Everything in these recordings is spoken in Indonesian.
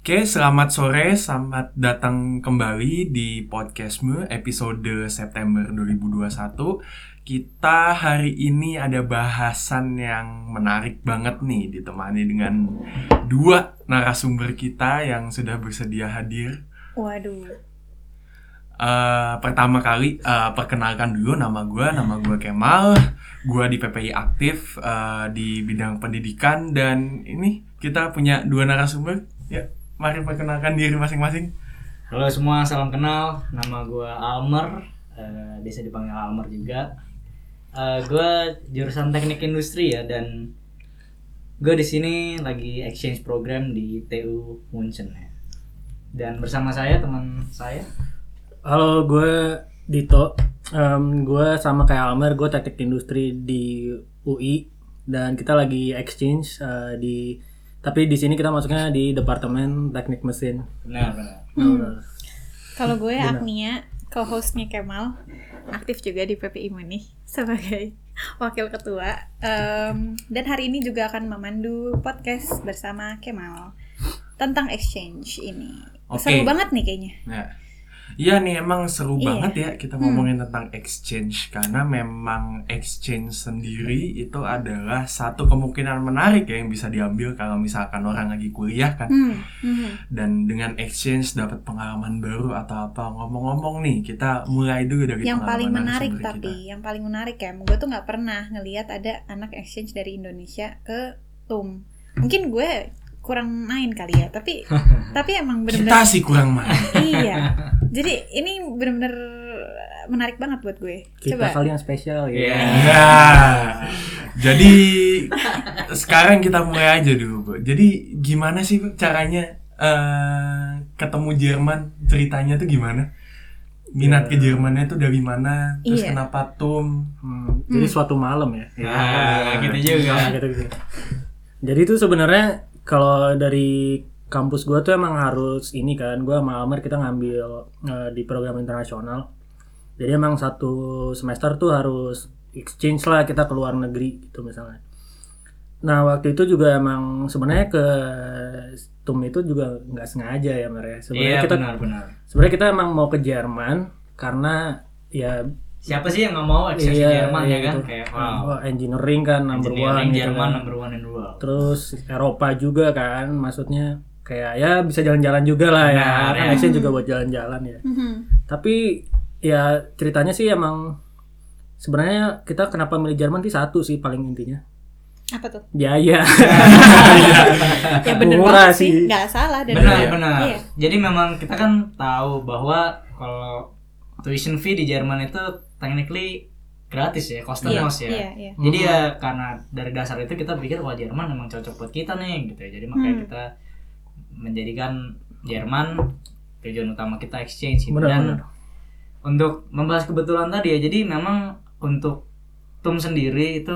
Oke, selamat sore, selamat datang kembali di podcastmu episode September 2021. Kita hari ini ada bahasan yang menarik banget nih, ditemani dengan dua narasumber kita yang sudah bersedia hadir. Waduh. Eh, pertama kali eh, perkenalkan dulu nama gue, nama gue Kemal, gue di PPI aktif eh, di bidang pendidikan dan ini kita punya dua narasumber. Ya, mari perkenalkan diri masing-masing. Halo semua, salam kenal. Nama gua Almer, eh, biasa dipanggil Almer juga. Eh, gua jurusan teknik industri ya dan gua di sini lagi exchange program di TU Munchen ya. Dan bersama saya teman saya. Halo, gue Dito. Em, gue sama kayak Almer, gue teknik industri di UI dan kita lagi exchange eh, di tapi di sini kita masuknya di departemen teknik mesin. Benar, benar. Kalau gue Agnia, co-hostnya Kemal, aktif juga di PPI Munich sebagai wakil ketua. Em, dan hari ini juga akan memandu podcast bersama Kemal tentang exchange ini. Oke. Seru banget nih kayaknya. Ya. Iya nih emang seru Iya. banget ya kita ngomongin tentang exchange karena memang exchange sendiri itu adalah satu kemungkinan menarik ya yang bisa diambil kalau misalkan orang lagi kuliah kan Hmm, hmm. dan dengan exchange dapat pengalaman baru atau apa ngomong-ngomong nih kita mulai dulu dari Yang pengalaman paling menarik narasumber tapi, yang paling menarik ya, gue tuh nggak pernah ngelihat ada anak exchange dari Indonesia ke TUM. Mungkin gue kurang main kali ya, tapi tapi emang kita. benar-benar kita sih kurang main iya jadi ini bener-bener menarik banget buat gue Kita coba kali yang spesial ya. Iya. Ya. Jadi sekarang kita mulai aja dulu, Bu. Jadi gimana sih Bu, caranya eh ketemu Jerman? Ceritanya tuh gimana? Minat ke Eh. Jermannya tuh dari mana? Terus Iya. kenapa Tum? Hmm, Jadi Hmm. suatu malam ya. Nah, gitu Nah, juga. gitu, gitu. Jadi itu sebenarnya kalau dari kampus gua tuh emang harus ini kan, gua sama Almer kita ngambil eh, di program internasional. Jadi emang satu semester tuh harus exchange lah kita ke luar negeri gitu misalnya. Nah waktu itu juga emang sebenarnya ke TUM itu juga nggak sengaja ya Mer ya. Sebenarnya Iya, kita benar, benar. sebenarnya kita emang mau ke Jerman karena ya Siapa sih yang nggak mau exchange iya, Jerman iya ya kan? gitu. Kayak wow. Oh, engineering kan number one Engineering gitu Jerman kan number one in the world. terus Eropa juga kan maksudnya kayak ya bisa jalan-jalan juga lah ya Benar, kan ya. Asia juga buat jalan-jalan ya Mhm. tapi ya ceritanya sih emang sebenarnya kita kenapa milih Jerman sih satu sih paling intinya ya. apa tuh biaya ya bener Murah banget sih sih. nggak salah dan benar Iya. benar Iya. jadi memang kita kan tahu bahwa kalau tuition fee di Jerman itu technically gratis ya kostenlos iya ya iya iya jadi ya Hmm. karena dari dasar itu kita pikir wah Jerman memang cocok buat kita nih gitu ya jadi makanya Hmm. kita menjadikan Jerman tujuan utama kita exchange gitu. Benar, dan benar. untuk membahas kebetulan tadi ya jadi memang untuk TUM sendiri itu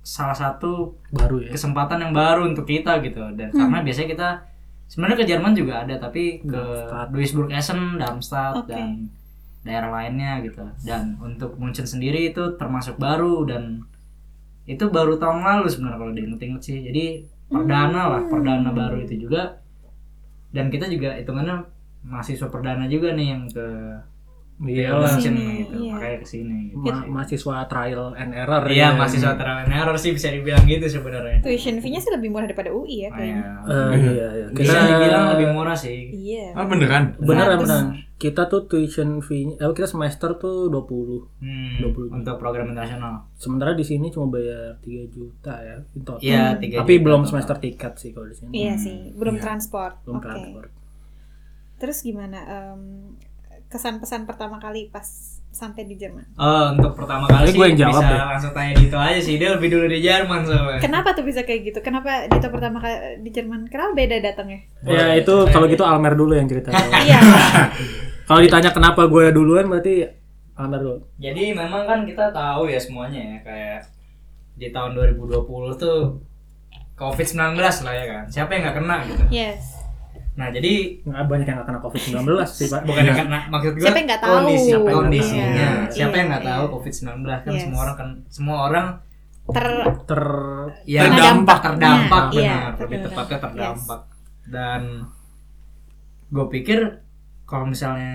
salah satu baru ya kesempatan yang baru untuk kita gitu dan Hmm. karena biasanya kita sebenarnya ke Jerman juga ada tapi ke Darmstadt. Duisburg Essen, Darmstadt Oke. dan daerah lainnya gitu dan untuk Munchen sendiri itu termasuk baru dan itu baru tahun lalu sebenarnya kalau diinget-inget sih jadi perdana lah Hmm. perdana baru itu juga dan kita juga hitungannya mahasiswa perdana juga nih yang ke Iya lah. Munchen Sini, gitu iya. makanya kesini gitu Ma- mahasiswa trial and error ya. iya mahasiswa trial and error sih bisa dibilang gitu sebenarnya tuition fee-nya sih lebih murah daripada UI ya kayaknya Kayak- Eh, iya, iya. Bisa kita dibilang lebih murah sih. iya Ah beneran? benar Seratus. benar kita tuh tuition fee eh, kita semester tuh 20 Hmm, 20. untuk program internasional. sementara di sini cuma bayar 3 juta ya in total. Iya, Hmm. tiga tapi juta belum total. semester tiket sih kalau di sini iya sih belum Iya. transport belum oke transfer terus gimana em, kesan-pesan pertama kali pas sampai di Jerman Oh, untuk pertama kali Ini sih gua yang jawab bisa deh. langsung tanya Dito aja sih. Dia lebih dulu di Jerman soalnya. kenapa tuh bisa kayak gitu kenapa Dito pertama kali di Jerman kenapa beda datangnya Ya itu kalau gitu Almer dulu yang cerita. iya kalau ditanya kenapa gue duluan berarti Almer dulu. Jadi memang kan kita tahu ya semuanya ya kayak di tahun 2020 tuh COVID-19 lah ya kan. Siapa yang nggak kena gitu. yes Nah, jadi Nggak banyak yang nggak kena COVID-19 sih Pak. bukan yang kena maksud gua Siapa yang nggak tahu? kondisi- Siapa yang nggak kondisinya. tahu? Siapa yang Iya, nggak tahu iya. COVID-19 kan Yes. semua orang kan semua orang ter Ter ya Terdampak. terdampak Nah, iya, Ya, benar, lebih terdampak. tepatnya terdampak. dan gue pikir kalau misalnya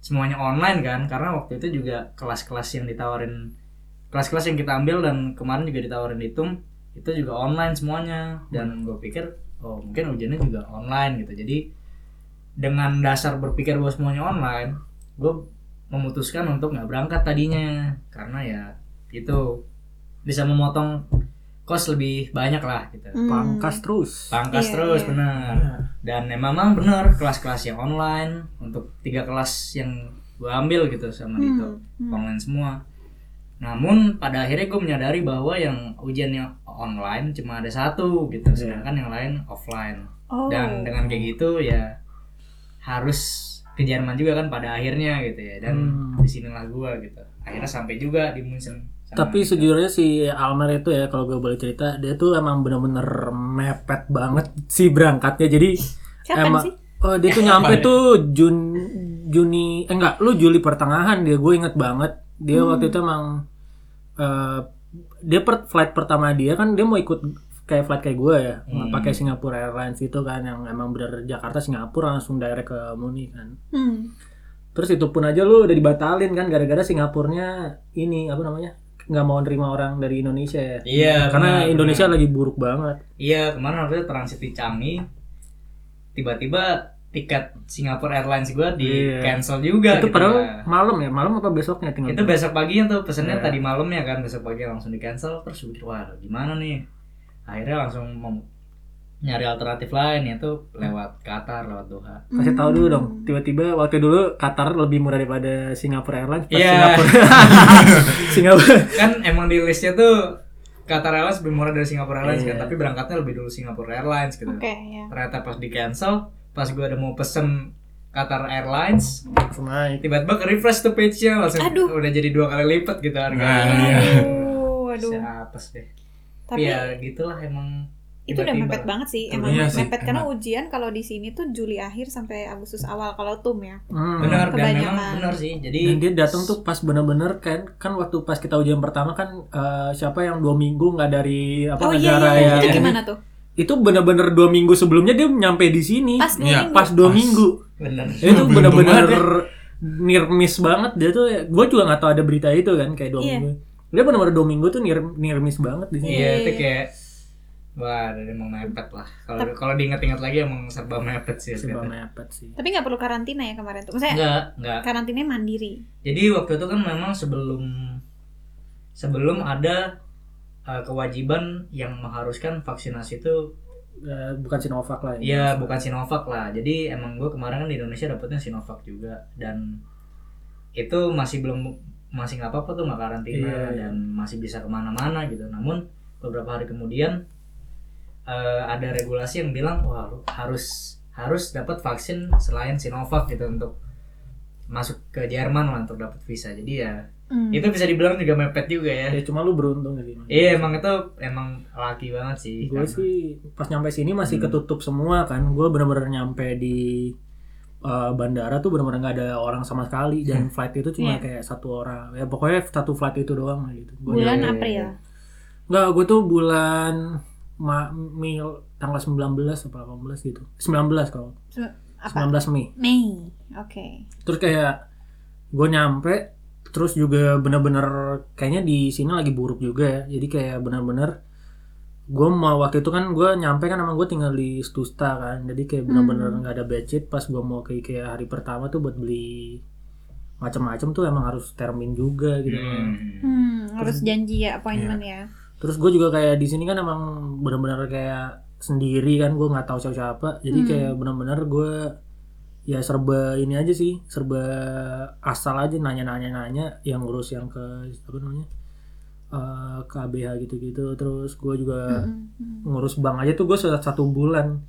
semuanya online kan karena waktu itu juga kelas-kelas yang ditawarin kelas-kelas yang kita ambil dan kemarin juga ditawarin hitung itu juga online semuanya dan gue pikir oh mungkin ujiannya juga online gitu jadi dengan dasar berpikir bahwa semuanya online gue memutuskan untuk nggak berangkat tadinya karena ya itu bisa memotong kos lebih banyak lah gitu Hmm. Pangkas terus. pangkas Iya, terus iya. bener dan ya, memang bener kelas-kelas yang online untuk tiga kelas yang gue ambil gitu sama Hmm, Dito hmm. online semua namun pada akhirnya gue menyadari bahwa yang ujiannya online cuma ada satu gitu Iya. sedangkan yang lain offline Oh. dan dengan kayak gitu ya harus ke Jerman juga kan pada akhirnya gitu ya dan Hmm. disinilah gua gitu akhirnya sampai juga di Munchen sama Tapi Dito. sejujurnya si Almer itu ya kalau gue boleh cerita dia tuh emang bener-bener mepet banget si berangkatnya jadi Kapan emang sih? oh, dia tuh nyampe tuh Jun Juni eh, enggak lu Juli pertengahan dia gue inget banget dia waktu itu emang eh, dia per, flight pertama dia kan dia mau ikut kayak flight kayak gue ya Hmm. pakai Singapore Airlines itu kan yang emang bener Jakarta Singapura langsung direct ke Muni kan Hmm. Terus itu pun aja lu udah dibatalin kan gara-gara Singapurnya ini apa namanya nggak mau nerima orang dari Indonesia ya. iya Karena benar, Indonesia benar. lagi buruk banget. iya kemarin waktu itu transit di Changi tiba-tiba tiket Singapore Airlines gua di Iya. cancel juga gitu itu padahal lah. malam ya, malam apa besoknya tinggal. itu besok paginya tuh pesennya Iya. tadi malam ya kan besok pagi langsung di cancel terus gue pikir wah gimana nih akhirnya langsung mem- nyari alternatif lain yaitu lewat Qatar lewat Doha Kasih tahu dulu dong. Hmm. Tiba-tiba waktu dulu Qatar lebih murah daripada Singapura Airlines. pas Iya. Singapura. Singapura. kan emang di listnya tuh Qatar Airlines lebih murah dari Singapore Airlines Iya. kan tapi berangkatnya lebih dulu Singapore Airlines gitu Oke, ya. ternyata pas di cancel pas gue ada mau pesen Qatar Airlines Langsung naik. tiba-tiba ke refresh tuh page-nya langsung Aduh. udah jadi dua kali lipat gitu harganya Nah, iya. Aduh, aduh. siapa deh Tapi tapi ya gitulah emang itu udah tiba-tiba. mepet banget sih. Tuh, Emang iya sih, mepet karena emang. ujian kalau di sini tuh Juli akhir sampai Agustus awal kalau TUM ya. Hmm. benar dan Kebanyakan. memang benar sih jadi Dan dia datang tuh pas bener-bener kan kan waktu pas kita ujian pertama kan eh, siapa yang dua minggu nggak dari apa oh iya, negara iya, iya. Itu yang gimana tuh? itu bener-bener dua minggu sebelumnya dia nyampe di sini Nah, Pas dua Iya, minggu. pas dua Pas. minggu benar itu Beruntung bener-bener banget nirmis banget dia tuh gue juga nggak tahu ada berita itu kan kayak dua Iya. minggu dia bener-bener dua minggu tuh nir- nirmis banget di sini iya itu kayak wah dari emang mepet lah kalau kalau diingat-ingat lagi emang serba mepet sih Serba ternyata. mepet sih Tapi nggak perlu karantina ya kemarin tuh. Maksudnya enggak enggak karantinanya mandiri. Jadi waktu itu kan memang sebelum sebelum ada uh, kewajiban yang mengharuskan vaksinasi itu Eh, bukan Sinovac lah ya bukan Sinovac lah. Jadi emang gue kemarin kan di Indonesia dapetnya Sinovac juga dan itu masih belum masih nggak apa-apa tuh nggak karantina Iya, iya. dan masih bisa kemana-mana gitu. Namun beberapa hari kemudian uh, ada regulasi yang bilang wah lu harus harus dapat vaksin selain Sinovac gitu untuk masuk ke Jerman lah untuk dapat visa. Jadi ya Hmm. itu bisa dibilang juga mepet juga ya Ya, cuma lu beruntung sih iya emang itu emang laki banget sih gue Karena- sih pas nyampe sini masih Hmm. ketutup semua kan gue bener-bener nyampe di eh, bandara tuh bener-bener nggak ada orang sama sekali Hmm. dan flight itu Iya. cuma kayak satu orang ya pokoknya satu flight itu doang lah gitu Gua Bulan Iya, iya, April. iya. Enggak, gue tuh bulan Ma Mil tanggal 19 apa 18 gitu. 19 kalau. Se- Apa? 19 Mei. Mei. Oke. Terus kayak gue nyampe terus juga bener-bener kayaknya di sini lagi buruk juga ya. Jadi kayak bener-bener gue mau waktu itu kan gue nyampe kan emang gue tinggal di Stusta kan jadi kayak bener-bener Hmm. nggak ada budget pas gue mau ke IKEA hari pertama tuh buat beli macam-macam tuh emang harus termin juga gitu kan. Hmm. Hmm, harus janji ya appointment Iya. ya. Terus gue juga kayak di sini kan emang benar-benar kayak sendiri kan gue nggak tahu siapa-siapa. Jadi Hmm. kayak benar-benar gue ya serba ini aja sih, serba asal aja nanya-nanya-nanya yang ngurus yang ke apa namanya eh, KBH gitu-gitu. Terus gue juga Eh. Mm-mm, mm. ngurus bank aja tuh gue sudah satu bulan.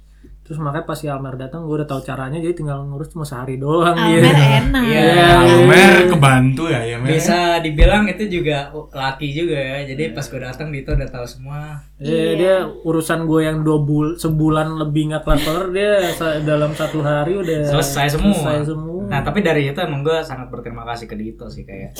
Terus makanya pas si Almer datang gue udah tahu caranya jadi tinggal ngurus cuma sehari doang. Almer ya? gitu. enak. Iya. Almer Nah, kebantu ya ya Mer? bisa dibilang itu juga laki juga ya jadi pas gue datang Dito udah tahu semua Iya, dia urusan gue yang dua bul sebulan lebih nggak kelar kelar dia sa- dalam satu hari udah Selesai semua. Selesai semua. nah tapi dari itu emang gue sangat berterima kasih ke Dito sih kayak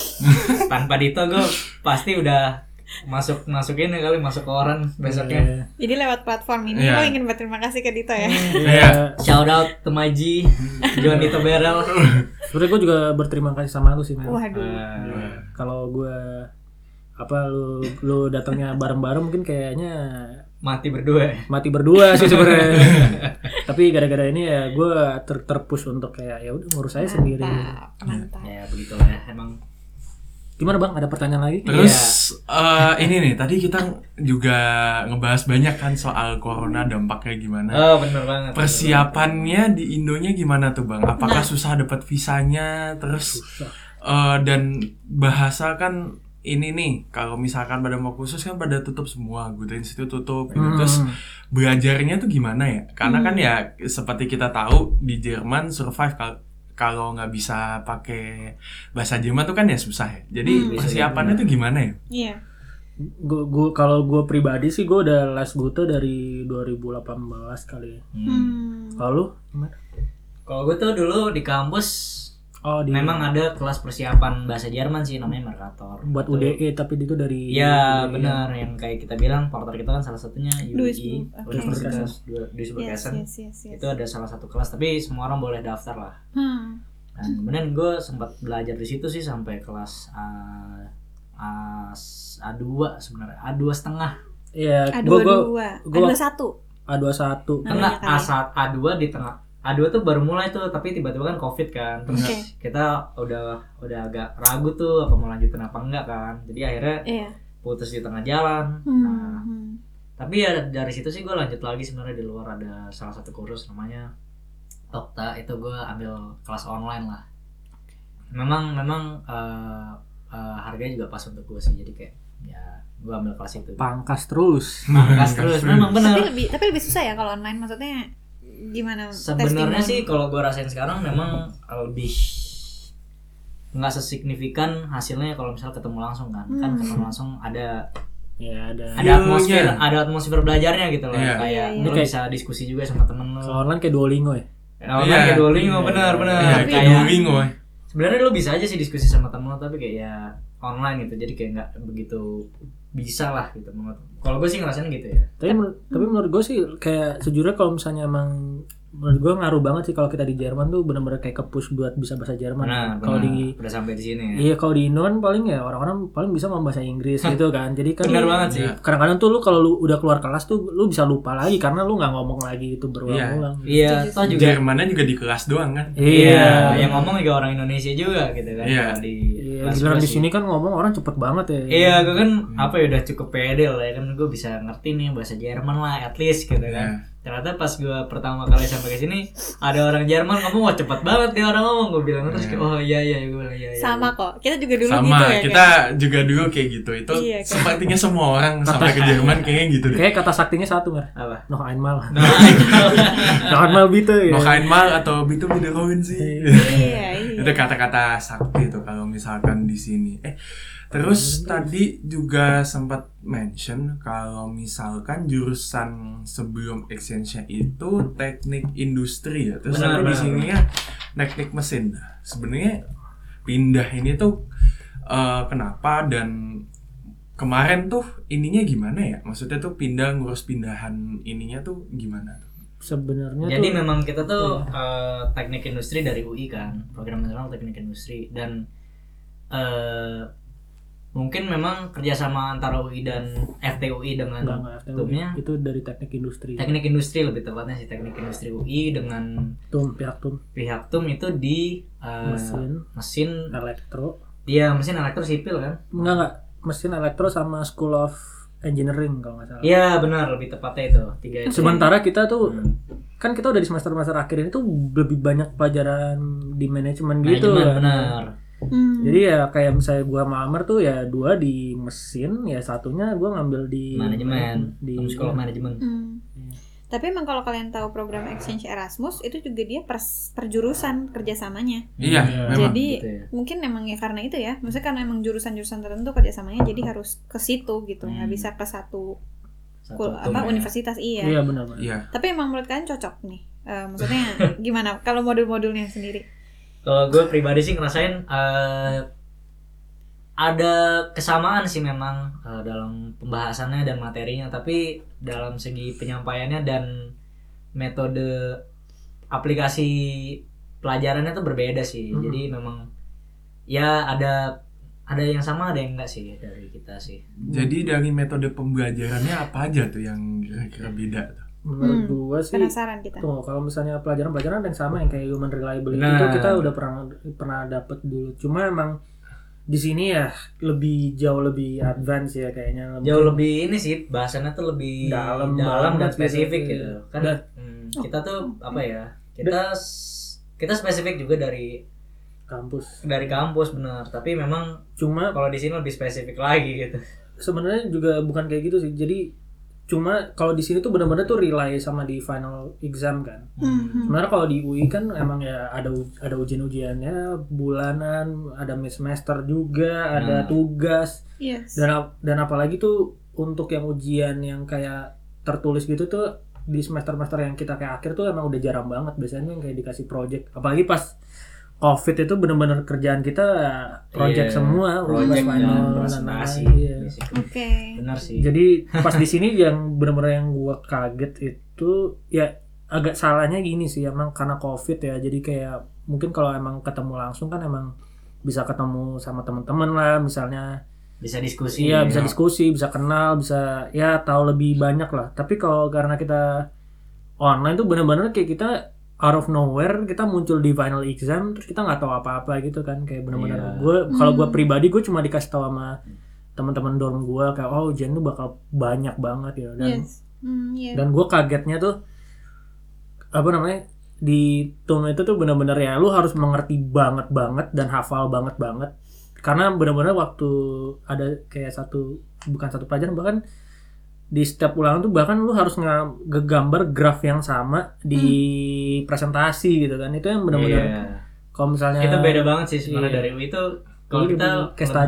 tanpa Dito gue pasti udah masuk masukin ya kali masuk koran besoknya. Iya. Jadi lewat platform ini Iya. lo ingin berterima kasih ke Dito Iya. ya. Iya. Shout out Temaji, Johnny Toberel. Sebenernya gue juga berterima kasih sama lu sih, Mel. Waduh. Eh, Kalau gue apa lu lu datangnya bareng-bareng mungkin kayaknya mati berdua. mati berdua sih sebenarnya. Tapi gara-gara ini ya gue ter terpus untuk kayak ya udah ngurus saya sendiri. Iya. Mantap. Mantap. Ya begitulah ya emang. Gimana bang? Ada pertanyaan lagi? Terus eh, ini nih tadi kita juga ngebahas banyak kan soal corona dampaknya gimana. Nah. Oh bener banget. Persiapannya di Indonya gimana tuh bang? Apakah susah dapat visanya? Terus eh, dan bahasa kan ini nih kalau misalkan pada mau khusus kan pada tutup semua, Guta Institute tutup. gitu. Terus Hmm. belajarnya tuh gimana ya? Karena kan ya seperti kita tahu di Jerman survive kal- kalau nggak bisa pakai bahasa Jerman tuh kan ya susah ya. Jadi persiapannya tuh gimana ya? Iya. Gua, gua kalau gue pribadi sih gue udah les buta dari 2018 kali ya. Hmm. Lalu gimana? Kalau gue tuh dulu di kampus Oh di memang ada kelas persiapan bahasa Jerman sih namanya Mercator. buat Itu- UDE tapi itu dari ya. Iya dari- benar yang kayak kita bilang porter kita kan salah satunya UI Duisburg, oke. Universitas Du- Duisburg Yes, Essen. yes, yes, yes. Itu ada salah satu kelas tapi semua orang boleh daftar lah. Hmm. Nah, kemudian gue sempat belajar di situ sih sampai kelas A, A, A2 sebenarnya A2 setengah Iya, Ada gue dua, gua dua. gua- Ada satu. A21. karena Namanya A saat A2 di tengah A2 tuh baru mulai tuh tapi tiba-tiba kan covid kan terus Oke. kita udah udah agak ragu tuh apa mau lanjutin apa enggak kan jadi akhirnya Iya. putus di tengah jalan Hmm. Nah, tapi ya dari situ sih gue lanjut lagi sebenarnya di luar ada salah satu kursus namanya Tokta itu gue ambil kelas online lah memang memang eh, eh, harganya juga pas untuk gue sih jadi kayak ya gue ambil kelas itu Pangkas terus. Pangkas terus memang Tapi benar lebih tapi lebih susah ya kalau online maksudnya gimana sebenarnya testingnya? sih kalau gue rasain sekarang memang lebih nggak sesignifikan hasilnya kalau misalnya ketemu langsung kan kan Hmm. ketemu langsung ada Ya ada. ada Feel-nya. atmosfer ada atmosfer belajarnya gitu loh Iya. kayak Iya, iya. lu Oke. bisa diskusi juga sama temen lu Kalau online kayak Duolingo ya. Nah, Iya. kayak Duolingo benar benar. Iya, kayak Tapi- kayak Duolingo, eh. sebenarnya lu bisa aja sih diskusi sama temen lu tapi kayak ya online gitu. Jadi kayak nggak begitu bisa lah gitu menurut. Kalau gue sih ngerasain gitu ya. Tapi menur- tapi menurut gue sih kayak sejujurnya kalau misalnya emang menurut gue ngaruh banget sih kalau kita di Jerman tuh bener-bener kayak kepus buat bisa bahasa Jerman. kalau di Nah, udah sampai di sini ya. Iya kalau di Indo kan paling ya orang-orang paling bisa ngomong bahasa Inggris gitu kan. Jadi kan Benar banget sih. Iya. kadang-kadang tuh lu kalau lu udah keluar kelas tuh lu bisa lupa lagi karena lu nggak ngomong lagi itu berulang-ulang. Iya. Iya, toh juga Jermannya juga di kelas doang kan? Iya, yang ngomong juga orang Indonesia juga gitu kan. Iya. Kalau Di Iya, kelas giliran gua di sih. sini kan ngomong orang cepet banget ya. Iya, gue kan Hmm. apa ya udah cukup pede lah ya kan gue bisa ngerti nih bahasa Jerman lah at least gitu Iya. kan. Ternyata pas gue pertama kali sampai ke sini ada orang Jerman ngomong wah cepet banget nih orang ngomong gue bilang terus kayak, oh iya iya gue bilang iya iya. sama kok. Kita juga dulu sama gitu ya. kita kan? juga dulu kayak gitu itu Iya, kan? sepertinya semua orang sampai ke Jerman kayaknya gitu deh Kayak kata saktinya satu mer. Apa? Noh einmal. noh einmal bitte ya. mau kain mal atau itu bideroin sih Iya, iya. itu kata-kata sakti tuh kalau misalkan di sini eh Iya, terus tadi juga sempat mention kalau misalkan jurusan sebelum exchange itu teknik industri ya terus tapi Benar, di benar. sininya teknik mesin Nah, sebenarnya pindah ini tuh eh, kenapa dan kemarin tuh ininya gimana ya maksudnya tuh pindah ngurus pindahan ininya tuh gimana tuh Sebenarnya Jadi Iya tuh Iya. memang kita tuh eh, teknik industri dari UI kan, program nasional teknik industri dan eh, mungkin memang kerjasama antara UI dan FTUI dengan enggak enggak TUM-nya itu dari teknik industri. teknik industri lebih tepatnya sih teknik industri UI dengan Tum pihak tum pihak TUM itu di eh, mesin mesin elektro. dia mesin elektro sipil kan? Enggak enggak mesin elektro sama School of Engineering kalau nggak salah. Iya benar lebih tepatnya itu tiga itu. Sementara kita tuh Hmm. kan kita udah di semester-semester akhir ini tuh lebih banyak pelajaran di manajemen gitu. Manajemen, kan. benar. Hmm. Jadi ya kayak misalnya gua sama Amer tuh ya dua di mesin, ya satunya gua ngambil di Manajemen. di TUM sekolah manajemen. Hmm. Tapi emang kalau kalian tahu program exchange Erasmus itu juga dia pers perjurusan kerjasamanya. iya Iya. memang Jadi gitu ya. mungkin emang ya karena itu ya. Maksudnya karena emang jurusan-jurusan tertentu kerjasamanya jadi harus ke situ gitu. Nggak Hmm. bisa ke satu, Satu kul- TUM apa ya. universitas iya. Iya benar benar. iya Tapi emang menurut kalian cocok nih. Eh, maksudnya gimana kalau modul-modulnya sendiri? Kalau gue pribadi sih ngerasain eh, ada kesamaan sih memang eh, dalam pembahasannya dan materinya tapi dalam segi penyampaiannya dan metode aplikasi pelajarannya tuh berbeda sih Hmm. Mhm. jadi memang ya ada ada yang sama ada yang enggak sih dari kita sih Jadi dari metode pembelajarannya apa aja tuh yang kira-kira beda? tuh? menurut Hmm, gua sih Penasaran kita. tuh kalau misalnya pelajaran-pelajaran ada yang sama yang kayak human reliability Nah. itu kita udah pernah pernah dapet dulu cuma emang di sini ya lebih jauh lebih advance ya kayaknya jauh Mungkin- lebih ini sih bahasannya tuh lebih Dalam dalam dan banget gitu. spesifik gitu, kan Dan- hmm, kita tuh apa ya kita s- kita spesifik juga dari kampus dari kampus benar tapi memang cuma kalau di sini lebih spesifik lagi gitu sebenarnya juga bukan kayak gitu sih jadi cuma kalau di sini tuh benar-benar tuh rely sama di final exam kan Hmm. sebenarnya kalau di UI kan emang ya ada u- ada ujian-ujiannya bulanan ada mid semester juga Nah. ada tugas Yes. dan ap- dan apalagi tuh untuk yang ujian yang kayak tertulis gitu tuh di semester-semester yang kita kayak akhir tuh emang udah jarang banget biasanya yang kayak dikasih project apalagi pas covid itu bener-bener kerjaan kita eh, project Iya, semua project ujian dan final, presentasi lain-lain. Iya. basically. Oke. benar sih Jadi pas di sini yang bener-bener yang gua kaget itu ya agak salahnya gini sih emang karena covid ya jadi kayak mungkin kalau emang ketemu langsung kan emang bisa ketemu sama teman-teman lah misalnya bisa diskusi ya. iya bisa diskusi bisa kenal bisa ya tahu lebih banyak lah tapi kalau karena kita online tuh bener-bener kayak kita out of nowhere kita muncul di final exam terus kita nggak tahu apa-apa gitu kan kayak bener-bener Iya. gue kalau gue Hmm. pribadi gue cuma dikasih tahu sama teman-teman dorm gue kayak oh ujian tuh bakal banyak banget ya dan Yes. Hmm, iya. dan gue kagetnya tuh apa namanya di tom itu tuh bener-bener ya lu harus mengerti banget banget dan hafal banget banget karena bener-bener waktu ada kayak satu bukan satu pelajaran bahkan di setiap ulangan tuh bahkan lu harus nge- ngegambar graf yang sama di presentasi gitu kan itu yang bener-bener Hmm. Iya. kalau misalnya itu beda banget sih sebenarnya Iya. dari UI itu kalau Jadi kita lebih case study.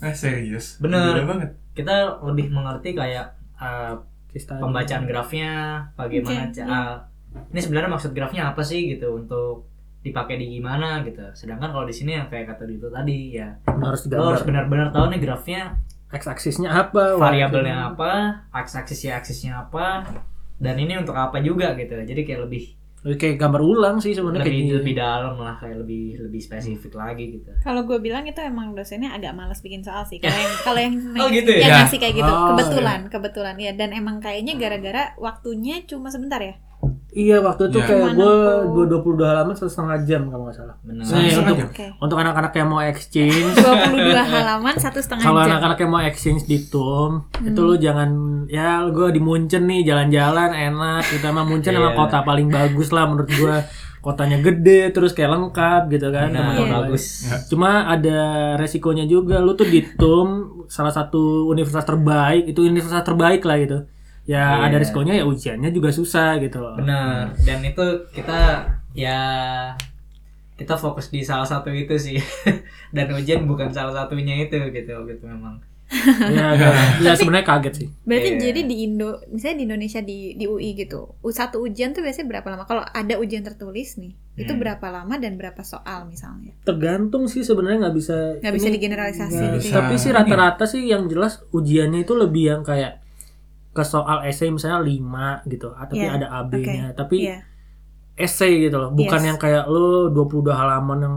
lebih Eh serius? Bener. Beda banget. kita lebih mengerti kayak eh, case study. pembacaan grafnya bagaimana Oke, iya. ca- ah, ini sebenarnya maksud grafnya apa sih gitu untuk dipakai di gimana gitu sedangkan kalau di sini yang kayak kata Dito tadi ya lo harus digambar harus benar-benar tahu nih grafnya x aksisnya apa variabelnya apa aks-aksisnya aksisnya apa dan ini untuk apa juga gitu jadi kayak lebih kayak gambar ulang sih sebenarnya lebih kayak lebih dalam lah kayak lebih lebih spesifik lagi gitu Kalau gue bilang itu emang dosennya agak malas bikin soal sih. Kalau yang kalau yang Oh, gitu ya? yang Ya. ngasih kayak gitu Oh, kebetulan, kebetulan ya. Dan emang kayaknya Hmm. gara-gara waktunya cuma sebentar ya. Iya waktu itu Iya. kayak Cuman gue aku- dua dua puluh dua halaman setengah jam kalau nggak salah. benar Saya Setengah untuk jam. Oke. untuk anak-anak yang mau exchange, 22 halaman satu setengah kalau jam. anak-anak yang mau exchange di Tum, itu lu jangan ya gue di Munchen nih jalan-jalan enak. Kita mah Munchen emang Iya. kota paling bagus lah menurut gue. Kotanya gede terus kayak lengkap gitu kan. nah teman-teman. bagus Ya. Cuma ada resikonya juga. Lu tuh di Tum salah satu universitas terbaik itu universitas terbaik lah gitu. Ya Iya. ada resikonya ya ujiannya juga susah gitu loh. Benar. Dan itu kita ya kita fokus di salah satu itu sih. Dan ujian bukan salah satunya itu gitu gitu memang. Ya, agak- ya sebenarnya kaget sih. Berarti Iya. jadi di Indo, misalnya di Indonesia di di UI gitu, u- satu ujian tuh biasanya berapa lama? Kalau ada ujian tertulis nih, itu Hmm. berapa lama dan berapa soal misalnya? tergantung sih sebenarnya nggak bisa Nggak bisa ini- digeneralisasi nggak gitu bisa. ya. tapi sih rata-rata sih yang jelas ujiannya itu lebih yang kayak ke soal essay misalnya 5 gitu ah, tapi Iya, ada AB-nya tapi Iya. essay gitu loh bukan Yes. yang kayak lo 22 halaman yang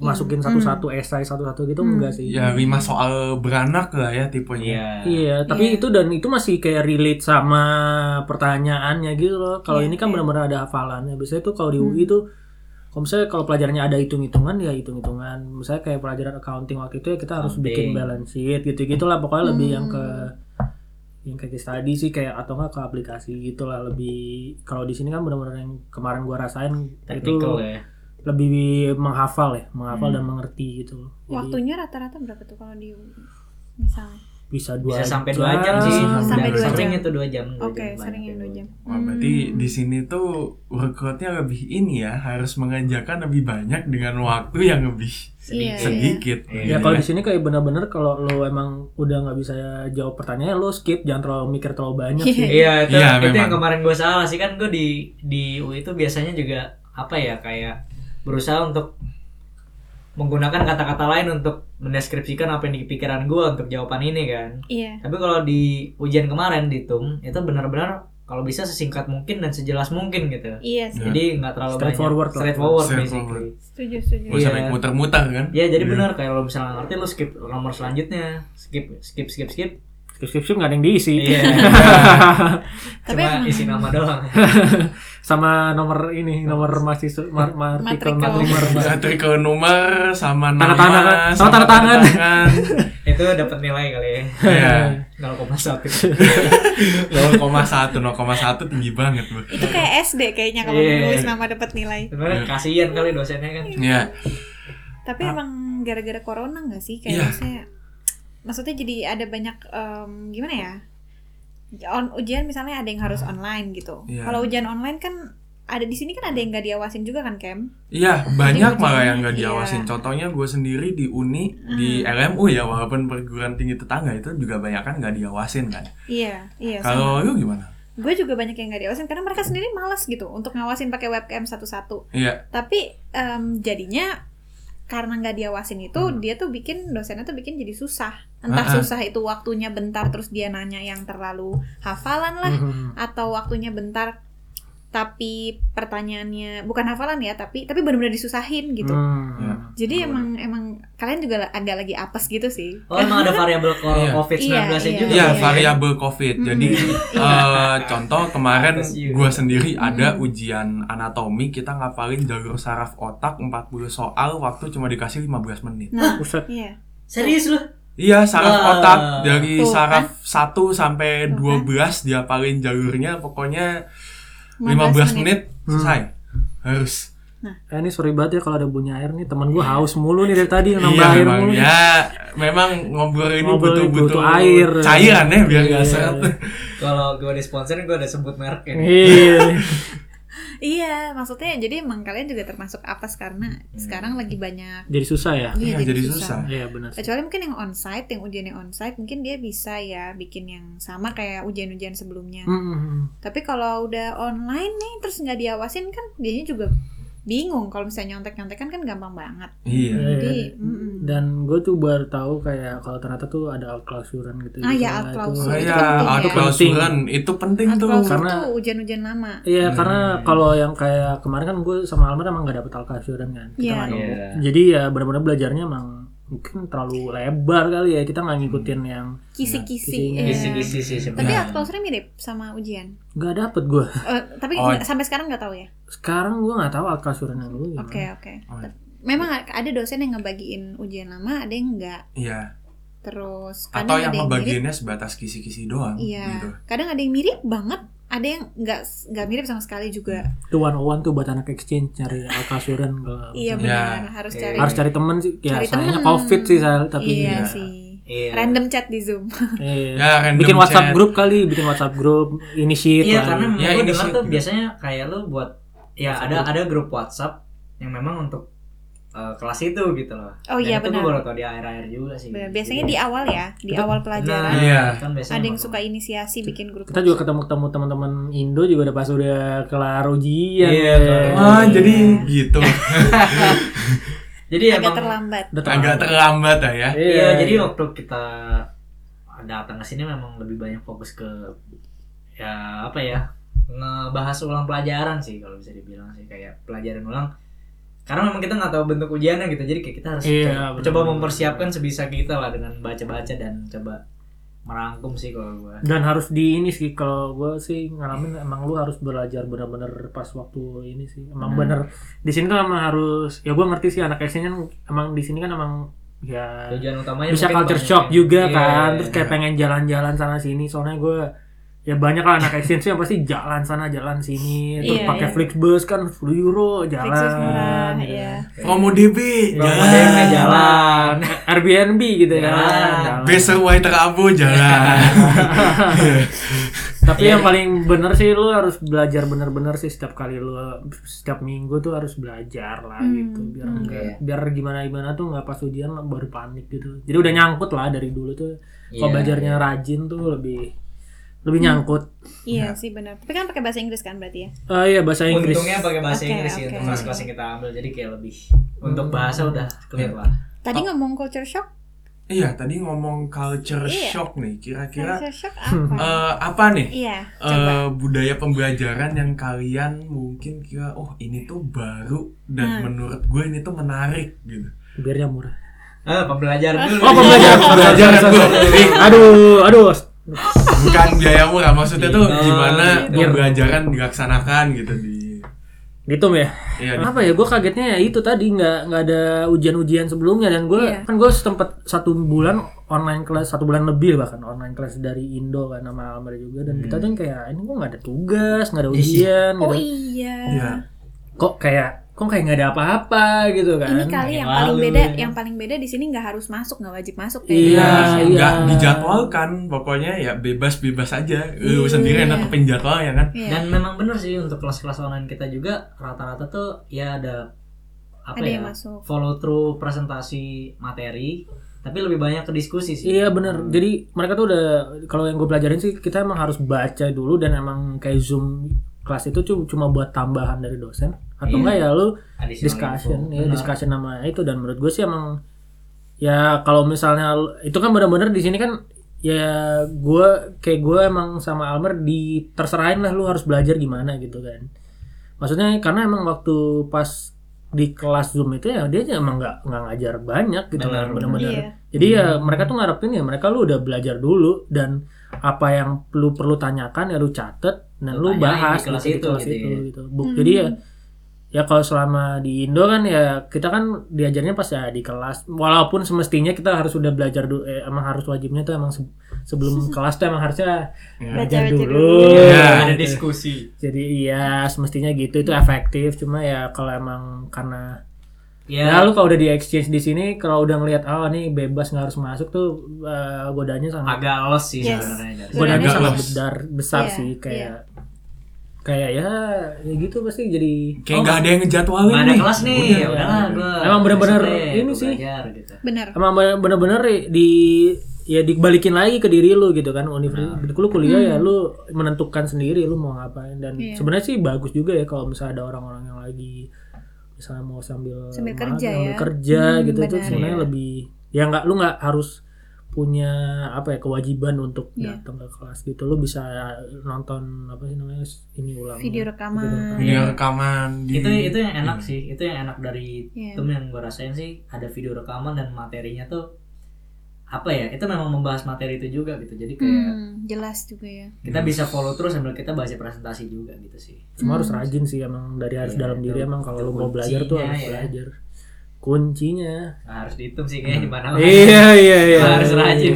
masukin Hmm. satu-satu essay satu-satu gitu Hmm. enggak sih Ya lima soal beranak lah ya tipenya. Iya, Iya. tapi itu dan itu masih kayak relate sama pertanyaannya gitu loh. Kalau Iya, ini kan iya. benar-benar ada hafalannya. Biasanya tuh kalau di Hmm. UI tuh kalau misalnya kalau pelajarannya ada hitung-hitungan ya hitung-hitungan. Misalnya kayak pelajaran accounting waktu itu ya kita harus Accounting. bikin balance sheet gitu-gitu lah. Pokoknya lebih yang ke Hmm. yang kayak case study sih kayak atau enggak ke aplikasi gitu lah lebih kalau di sini kan benar-benar yang kemarin gua rasain Technical itu ya. lebih menghafal ya menghafal Hmm. dan mengerti gitu loh. Jadi Waktunya rata-rata berapa tuh kalau di UI? Misalnya. bisa dua Bisa sampai 2 jam sih. Sampai Dan dua jam. sering itu 2 jam. gitu, dua Oke, jam, sering yang banyak dua jam. Wah, berarti Hmm. di sini tuh workloadnya lebih ini ya, harus mengerjakan lebih banyak dengan waktu yang lebih Iya, Sedikit. iya. sedikit. Ya kalau di sini kayak benar-benar kalau lo emang udah nggak bisa jawab pertanyaan lo skip jangan terlalu mikir terlalu banyak sih. Iya, itu, Iya, itu memang. yang kemarin gue salah sih kan gue di di UI itu biasanya juga apa ya kayak berusaha untuk menggunakan kata-kata lain untuk mendeskripsikan apa yang di pikiran gue untuk jawaban ini kan Iya. tapi kalau di ujian kemarin dihitung itu benar-benar kalau bisa sesingkat mungkin dan sejelas mungkin gitu Iya sih. Ya. jadi nggak terlalu Straightforward banyak lah. straightforward Straightforward. basically Setuju, setuju. Gak usah Iya. banyak muter-muter kan? ya jadi Iya. benar kayak kalau misalnya nggak ngerti lu skip nomor selanjutnya skip skip skip skip skip skip skip nggak ada yang diisi iya Tapi cuma emang- isi nama doang sama nomor ini nomor mahasiswa mar, mar, Matrikel. artikel matrikel. Satu ke nomor sama Tanda nama tangan, sama tanda tangan. itu dapat nilai kali ya Iya. 0,1 0,1 0,1 tinggi banget bu. Itu kayak SD kayaknya kalau Iya. nulis nama dapat nilai. sebenarnya kasihan kali dosennya kan Iya. Tapi emang gara-gara corona nggak sih Ah. Iya. kayak maksudnya maksudnya jadi ada banyak em, gimana ya? On ujian misalnya ada yang harus online gitu. Iya. Kalau ujian online kan ada di sini kan ada yang nggak diawasin juga kan Kem? Iya, banyak malah yang gak Iya. Hmm. diawasin. Contohnya gue sendiri di Uni, di LMU ya, walaupun perguruan tinggi tetangga itu juga banyak kan gak diawasin kan. Iya, iya. Kalau sama. lu gimana? Gue juga banyak yang nggak diawasin karena mereka sendiri malas gitu untuk ngawasin pakai webcam satu-satu. Iya, Tapi em, jadinya karena nggak diawasin itu dia tuh bikin dosennya tuh bikin jadi susah. Entah Hmm. Ah, ah. susah itu waktunya bentar terus dia nanya yang terlalu hafalan lah Hmm. Mhm. atau waktunya bentar tapi pertanyaannya bukan hafalan ya tapi tapi benar-benar disusahin gitu. Ya. Hmm. Jadi emang emang kalian juga la- agak lagi apes gitu sih. oh emang ada variabel Iya. covid 19 nya Iya, juga kan ya? iya iya. variabel COVID. Jadi eh, contoh kemarin Atas you. gue sendiri ada Hmm. ujian anatomi kita ngapalin jalur saraf otak 40 soal waktu cuma dikasih 15 menit. Nah, Buset. iya. serius lu Iya, saraf Wah. otak dari Tuh saraf 1 sampai Tuh kan. 12 diapalin jalurnya pokoknya 15 15 menit Hmm. selesai. Harus. Eh, ini sorry banget ya kalau ada bunyi air nih teman Iya. gue haus mulu nih dari tadi nambah Iya air memang mulu. ya memang ngobrol ini Ngobrol ini butuh-butuh butuh air. cairan ya biar nggak Iya. seret. kalau gue di sponsorin gue ada sebut ya. mereknya Iya. Iya, maksudnya jadi emang kalian juga termasuk apes karena sekarang lagi banyak Jadi susah ya. Iya, Hmm. jadi susah. Iya benar. sih. Kecuali mungkin yang onsite, yang ujiannya onsite, mungkin dia bisa ya bikin yang sama kayak ujian-ujian sebelumnya. Hmm. Tapi kalau udah online nih, terus nggak diawasin kan, dianya juga bingung. Kalau misalnya nyontek-nyontekan kan gampang banget. Iya. Iya, Jadi, iya. mm-mm. Dan gue tuh baru tahu kayak kalau ternyata tuh ada out clausuran gitu. Ah, gitu. ya, out Nah, itu- clausur. Saya penting auto ya. klausuran itu penting Atau tuh. kalau karena- tuh ujian-ujian lama. Iya, Hmm. karena kalau yang kayak kemarin kan gue sama Almer emang gak dapet al clausuran kan. Kita Iya. nggak nemu. Iya. Jadi ya benar-benar belajarnya emang mungkin terlalu lebar kali ya kita nggak ngikutin Hmm. yang Kisi-kisi. Kisinya. iya. isi-isi sih Tapi Nah. sebenarnya out klausurnya mirip sama ujian. nggak dapet gue. Eh, tapi Oh. nggak- sampai sekarang nggak tahu ya. Sekarang gue nggak tahu al clausuran yang dulu. gimana. Oke, oke. Oh. Memang ada dosen yang ngebagiin ujian lama, ada yang nggak. Iya. Terus Atau yang kadang ada yang mirip, ngebagiannya sebatas kisi-kisi doang Iya. gitu. Kadang ada yang mirip banget, ada yang nggak nggak mirip sama sekali juga. Hmm. Itu one one tuh buat anak exchange cari al clausuran kalau Iya. Iya benar, harus cari. harus cari temen sih. Ya Cari sayangnya temen. covid sih saya tapi ya. iya iya. sih. Iya. Random chat di Zoom. Iya. Ya, random bikin WhatsApp chat. grup kali, bikin WhatsApp grup, initiate Iya lah. karena Ya, gue ini dengar sih tuh juga. biasanya kayak lu buat ya WhatsApp ada ada grup WhatsApp yang memang untuk uh, kelas itu gitu loh. Oh iya Dan itu gue baru benar. tau di akhir-akhir juga sih. Benar. Biasanya di awal ya, di Kita- awal Nah, pelajaran. Iya. kan biasanya Ada yang baru- suka inisiasi bikin grup. kita juga ketemu-ketemu teman-teman Indo juga udah pas udah kelar ujian. Iya, kelar Eh, Ah, jadi gitu. Jadi agak emang terlambat. udah Agak terlambat lah ya. Iya, iya jadi iya. waktu kita datang ke sini memang lebih banyak fokus ke ya apa ya ngebahas ulang pelajaran sih kalau bisa dibilang sih kayak pelajaran ulang karena memang kita nggak tahu bentuk ujiannya gitu jadi kayak kita harus Iya, coba- benar. coba mempersiapkan sebisa kita lah dengan baca-baca dan coba merangkum sih kalau gua dan harus di ini sih kalau gue sih ngalamin emang lu harus belajar bener-bener pas waktu ini sih emang Hmm. bener di sini tuh emang harus ya gue ngerti sih anak exchange kan emang di sini kan emang ya tujuan utamanya bisa mungkin culture banyak shock ya. juga Iya, kan iya, terus iya. kayak pengen jalan-jalan sana sini soalnya gue ya banyak lah anak exchange yang pasti jalan sana jalan sini terus Iya, pakai iya. Flixbus kan 10 euro jalan Fixus murah, gitu. iya. Promo DB. Promo jalan. DB, jalan Airbnb gitu ya Jalan. Jalan. Besok White Rabu Iya. jalan. Iya. tapi Iya. yang paling bener sih lu harus belajar bener-bener sih setiap kali lu setiap minggu tuh harus belajar lah Hmm, gitu biar hmm. enggak Iya. biar gimana gimana tuh nggak pas ujian baru panik gitu jadi udah nyangkut lah dari dulu tuh kalau Iya. belajarnya rajin tuh lebih lebih nyangkut Iya sih benar. Tapi kan pakai bahasa Inggris kan berarti ya. Ah iya bahasa Inggris. Hmm. Untungnya pakai bahasa Oke, Inggris sih oke. untuk kelas-kelas yang kita ambil jadi kayak lebih Hmm. Untuk bahasa udah Iya. clear lah. Ah. Tadi ngomong culture shock, Iya, tadi ngomong culture Iya. shock nih. Kira-kira culture shock apa? eh, apa nih? Iya, coba. eh budaya pembelajaran yang kalian mungkin kira oh ini tuh baru dan Hmm. menurut gue ini tuh menarik gitu biarnya murah Eh, Ah. pembelajaran dulu. Iya. oh pembelajaran Pembelajaran. Sorry. aduh aduh bukan biaya murah maksudnya tuh Gitu. gimana Gitu. pembelajaran dilaksanakan gitu di ditum ya ya Iya. di- apa ya gue kagetnya ya itu tadi nggak nggak ada ujian-ujian sebelumnya dan gue Iya. kan gue sempet satu bulan online kelas satu bulan lebih bahkan online kelas dari Indo kan sama Almer juga dan kita tuh kayak ini kok nggak ada tugas nggak ada Hmm. Iya sih. ujian Oh gitu iya. ya kok kayak kok kayak nggak ada apa-apa gitu kan Ini kali yang yang paling lalu, beda, ya. yang paling beda di sini nggak harus masuk, nggak wajib masuk gitu. Iya, Ya, iya. nggak dijadwalkan pokoknya ya bebas-bebas aja Eh, lu Iya. sendiri yang netepin jadwal ya kan Iya. Dan memang benar sih untuk kelas-kelas online kita juga rata-rata tuh ya ada apa Ada ya? yang masuk. Follow through presentasi materi, tapi lebih banyak ke diskusi sih. Iya bener, Hmm. jadi mereka tuh udah kalau yang gue pelajarin sih kita emang harus baca dulu dan emang kayak zoom kelas itu cu- cuma buat tambahan dari dosen atau Iya. enggak ya lu Additional discussion info. ya Benar. discussion nama itu dan menurut gue sih emang ya kalau misalnya lu- itu kan benar-benar di sini kan ya gue kayak gue emang sama Almer di terserahin lah lu harus belajar gimana gitu kan maksudnya karena emang waktu pas di kelas zoom itu ya dia emang nggak nggak ngajar banyak gitu Benar, kan benar-benar Iya. jadi ya Hmm. mereka tuh ngarepin ya mereka lu udah belajar dulu dan apa yang lu perlu tanyakan ya lu catet dan Lu lu, tanyain bahas di kelas gitu, di itu gitu ya. gitu. Bu- Hmm. Jadi ya ya kalau selama di Indo kan ya kita kan diajarnya pas ya di kelas walaupun semestinya kita harus udah belajar dulu eh, emang harus wajibnya tuh emang se- sebelum kelas tuh emang harusnya belajar Baca-baca dulu. Gitu. dulu. Iya. Iya. ada diskusi. Jadi iya semestinya gitu itu efektif cuma ya kalau emang karena Ya, Ya, lu kalau udah di exchange di sini, kalau udah ngelihat oh nih bebas nggak harus masuk tuh eh, godaannya sangat agak los sih Yes. sebenarnya. dari- godaannya Agak sangat los. besar besar Iya, sih kayak iya. kayak ya ya gitu pasti jadi kayak nggak ada yang ngejadwalin Nggak ada nih. kelas nih, Udah. ya udahlah gua. Emang bener-bener besok deh, ini gua sih. belajar gitu. Bener. emang bener-bener di ya dibalikin lagi ke diri lu gitu kan Nah. universitas lu kuliah ya lu menentukan sendiri lu mau ngapain dan Hmm. Iya. sebenarnya sih bagus juga ya kalau misalnya ada orang-orang yang lagi misalnya mau sambil Sambil ma- kerja sambil ya. kerja Hmm, gitu itu benar. sebenarnya Iya. lebih ya nggak lu nggak harus punya apa ya kewajiban untuk Iya. datang ke kelas gitu lu bisa nonton apa sih namanya ini ulang Video rekaman. video rekaman di Itu itu yang enak Iya. sih, itu yang enak dari Iya. Tum yang gue rasain sih ada video rekaman dan materinya tuh apa ya? Itu memang membahas materi itu juga gitu. Jadi kayak Hmm, jelas juga ya. kita bisa follow terus sambil kita bahas presentasi juga gitu sih. Cuma harus Hmm. rajin sih emang dari harus Iya, dalam itu- diri emang itu kalau lu mau belajar tuh kuncinya harus ya. belajar kuncinya Nggak harus dihitung sih Hmm. kayaknya di mana. Iya iya iya. Harus rajin.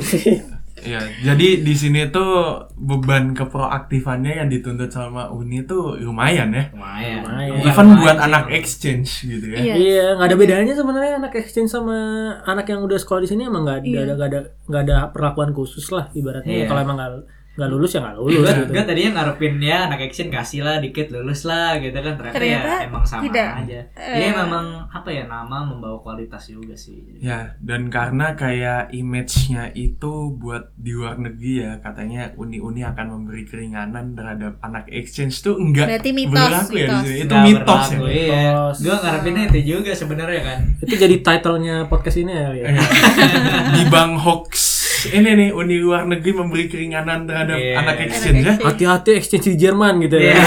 Iya, jadi di sini tuh beban keproaktifannya yang dituntut sama Uni tuh lumayan ya. Lumayan. Lumayan. Even Bukan Iya, lumayan buat sih, anak emang. exchange gitu ya. Iya. Iya, nggak ada bedanya sebenarnya anak exchange sama anak yang udah sekolah di sini emang nggak nggak ada nggak ada nggak ada perlakuan khusus lah ibaratnya Iya. kalau emang nggak nggak lulus ya nggak lulus Gue gitu. gue tadinya ngarepin ya anak action kasih lah dikit lulus lah gitu kan ternyata, Ternyata ya emang sama tidak. aja. Eh. Iya memang apa ya nama membawa kualitas juga sih. Ya, dan karena kayak image-nya itu buat di luar negeri ya, katanya uni-uni akan memberi keringanan terhadap anak exchange tuh enggak Berarti mitos, berlaku ya di mitos. sini. Itu Nggak mitos berlaku, ya. Iya. Mitos. Gue ngarepinnya itu juga sebenarnya kan. Itu jadi title-nya podcast ini ya. Iya. ya. Iya. Di Bang Hoax ini nih uni luar negeri memberi keringanan terhadap Iya. anak exchange ya. Anak Hati-hati exchange di Jerman gitu Iya. ya.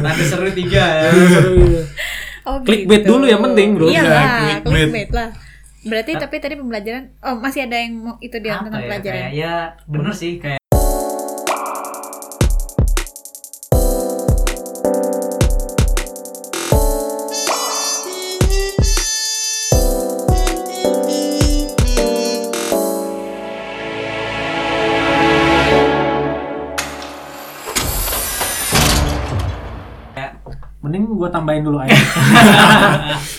Nanti seru tiga ya. Seru gitu. Oh, Clickbait gitu. dulu yang penting, bro. Iya Iya, lah, clickbait. clickbait. lah. Berarti tapi tadi pembelajaran, oh masih ada yang mau itu dia Apa Iya, tentang ya? pelajaran. Kayak ya bener sih kayak Mending gua tambahin dulu aja.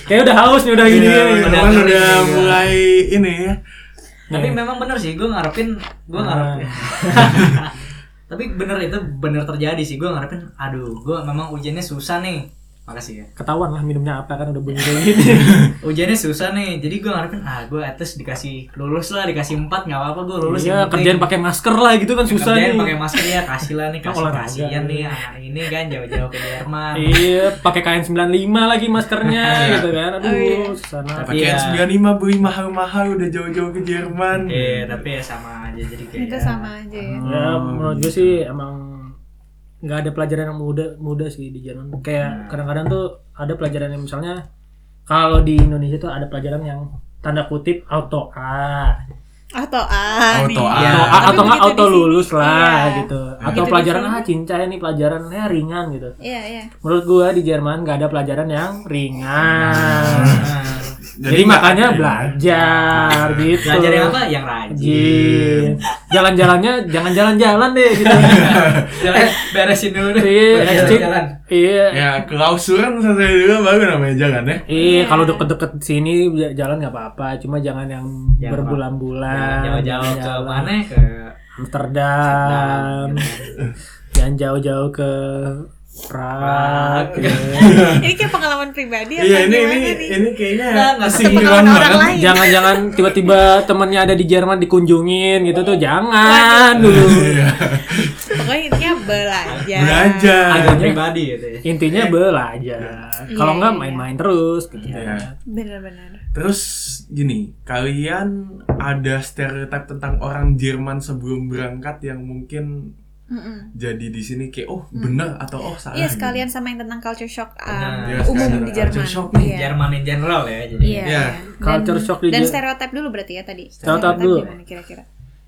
Kayak udah haus nih udah gini. Iya, ya. teman benar-benar udah juga. mulai ini ya. Iya. tapi memang bener sih gue ngarepin gue Ah. ngarepin tapi bener itu bener terjadi sih gue ngarepin aduh gue memang ujiannya susah nih Makasih ya. Ketahuan lah minumnya apa kan udah bunyi kayak gini. Ujiannya susah nih. Jadi gue ngarepin ah gue at least dikasih lulus lah, dikasih 4 nggak apa-apa gue lulus. Iya, yang penting. kerjaan pakai masker lah gitu kan susah Kerjain nih. pakai masker ya, kasih lah nih, Kan kasih olahraga. kasihan nih anak ini kan jauh-jauh ke Jerman. Iya, pakai kain 95 lagi maskernya gitu kan. Aduh, Oh, iya. susah Pakai nah. pakaian Iya. 95 beli mahal-mahal udah jauh-jauh ke Jerman. Hmm. Iya, tapi ya sama aja jadi kayak. Itu sama aja ya. Ya, menurut gue sih emang nggak ada pelajaran yang muda muda sih di Jerman. Kayak kadang-kadang tuh ada pelajaran yang misalnya kalau di Indonesia tuh ada pelajaran yang tanda kutip auto A, Atau ah Auto A. nih. Ya, auto A tapi atau nggak begitu auto di sini. lulus lah Iya. gitu, Begitu atau di pelajaran sini. ah cincai ini pelajarannya ringan gitu. Iya, iya. Menurut gua di Jerman nggak ada pelajaran yang ringan. Nah, nggak Jadi, makanya ada. belajar gitu. belajar yang apa? Yang rajin. Jin. Iya. Jalan-jalannya jangan jalan-jalan deh gitu. Jalan, beresin dulu deh. Iya, Beresin exit. jalan. Iya. Ya, klausuran selesai dulu baru namanya jalan ya. Iya, kalau deket-deket sini j- jalan nggak apa-apa, cuma jangan yang Jangan berbulan-bulan. Jauh-jauh ke Jalan mana? Ke Amsterdam. Jangan jauh-jauh ke Prague. Prague. ini kayak pengalaman pribadi apa Iya, ini ini gimana nih? ini kayaknya Nah, nggak Atau singkiran pengalaman banget. orang lain. Jangan-jangan tiba-tiba temennya ada di Jerman dikunjungin gitu tuh, jangan dulu. Iya. Pokoknya intinya belajar. Belajar. Agak pribadi gitu ya. Intinya belajar. Kalau Iya, nggak iya, main-main terus. Gitu. Iya. Benar-benar. Terus gini, kalian ada stereotip tentang orang Jerman sebelum berangkat yang mungkin Mm-mm. jadi di sini kayak oh benar atau oh salah. Hmm. Iya gitu. sekalian sama yang tentang culture shock um, Nah, iya, sekalian umum di tentang Jerman. culture shock nih, Iya. Jerman in general ya. Jadi Iya. Iya. Dan- Culture shock di Dan Jer- stereotip dulu berarti ya tadi. Stereotip dulu. gimana kira-kira?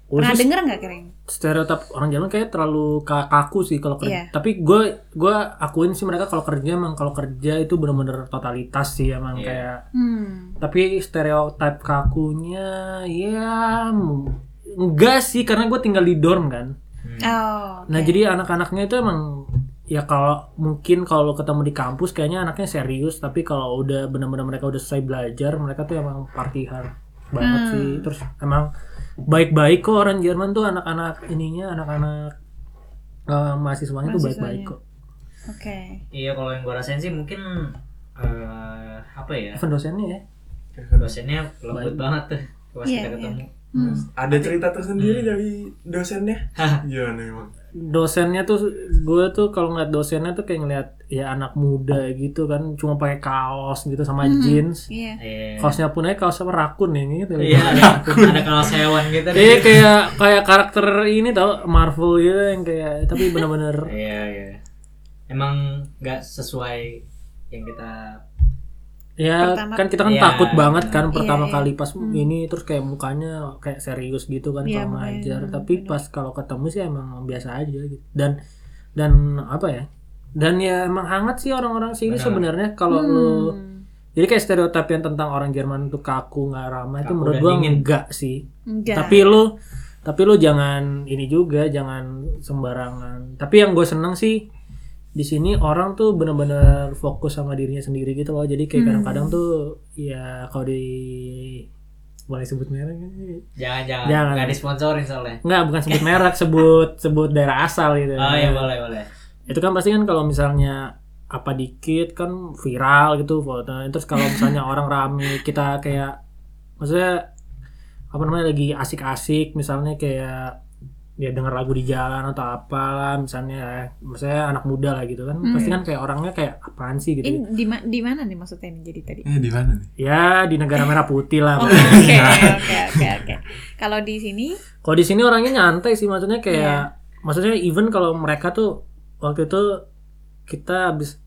Pernah Khusus denger nggak kira stereotip orang Jerman kayak terlalu ka- kaku sih kalau kerja. Iya. Tapi gue gua akuin sih mereka kalau kerja emang kalau kerja itu bener-bener totalitas sih emang Iya. kayak. Hmm. Tapi stereotip kakunya ya m- enggak sih karena gue tinggal di dorm kan. Hmm. Oh. Nah jadi anak-anaknya itu emang ya kalau mungkin kalau ketemu di kampus kayaknya anaknya serius tapi kalau udah benar-benar mereka udah selesai belajar mereka tuh emang party hard banget Hmm. sih terus emang baik-baik kok orang Jerman tuh anak-anak ininya anak-anak eh, mahasiswanya tuh Mahasiswanya. baik-baik kok Oke. Iya kalau yang gue rasain sih mungkin eh, apa ya even dosennya ya dosennya lembut Baik. banget tuh pas Iya, kita ketemu. Hmm. Ada cerita tersendiri dari dosennya? Iya, Hah. Gimana emang? dosennya tuh gue tuh kalau ngeliat dosennya tuh kayak ngeliat ya anak muda gitu kan cuma pakai kaos gitu sama Hmm. jeans Iya. Iya. kaosnya pun aja kaos apa rakun ya gitu Iya ada, ada kaos hewan gitu. deh. Iya kayak kayak karakter ini tau Marvel gitu yang kayak tapi bener-bener Iya iya. Emang nggak sesuai yang kita ya Pertama- kan kita kan Iya. takut banget kan pertama iya. kali pas ini terus kayak mukanya kayak serius gitu kan Iya, kalau makanya. ngajar tapi pas kalau ketemu sih emang biasa aja gitu dan dan apa ya dan ya emang hangat sih orang-orang sini Benar. sebenarnya kalau Hmm. lu jadi kayak stereotip yang tentang orang Jerman itu kaku nggak ramah itu Kaku menurut dan gua dingin. enggak sih Enggak. tapi lu tapi lu jangan ini juga jangan sembarangan tapi yang gue seneng sih di sini orang tuh bener-bener fokus sama dirinya sendiri gitu loh jadi kayak Hmm. kadang-kadang tuh ya kalau di boleh sebut merek nggak sih? jangan jangan Jangan. nggak disponsorin soalnya. nggak bukan sebut merek sebut sebut daerah asal gitu Oh iya boleh boleh. itu kan pasti kan kalau misalnya apa dikit kan viral gitu fotonya terus kalau misalnya orang rame kita kayak maksudnya apa namanya lagi asik-asik misalnya kayak ya denger lagu di jalan atau apalah misalnya misalnya anak muda lah gitu kan Hmm. pasti kan kayak orangnya kayak apaan sih gitu ini di, ma- di mana nih maksudnya ini jadi Nah. tadi? Eh, di mana nih? ya di negara merah putih lah Oh, Oke oke oke oke. Kalau di sini Kalau di sini orangnya nyantai sih maksudnya kayak Iya. maksudnya even kalau mereka tuh waktu itu kita habis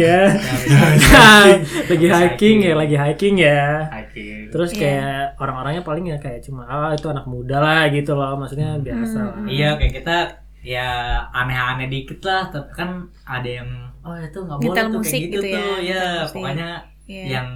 ya. lagi hiking ya, lagi hiking ya. Oke. Terus Iya. kayak orang-orangnya paling ya kayak cuma ah itu anak muda lah gitu loh, maksudnya biasa. lah. Hmm. Iya kayak kita ya aneh-aneh dikit lah tapi kan ada yang oh itu nggak boleh Nyetel tuh musik kayak gitu, gitu ya, tuh ya, nyetel musik. pokoknya ya. yang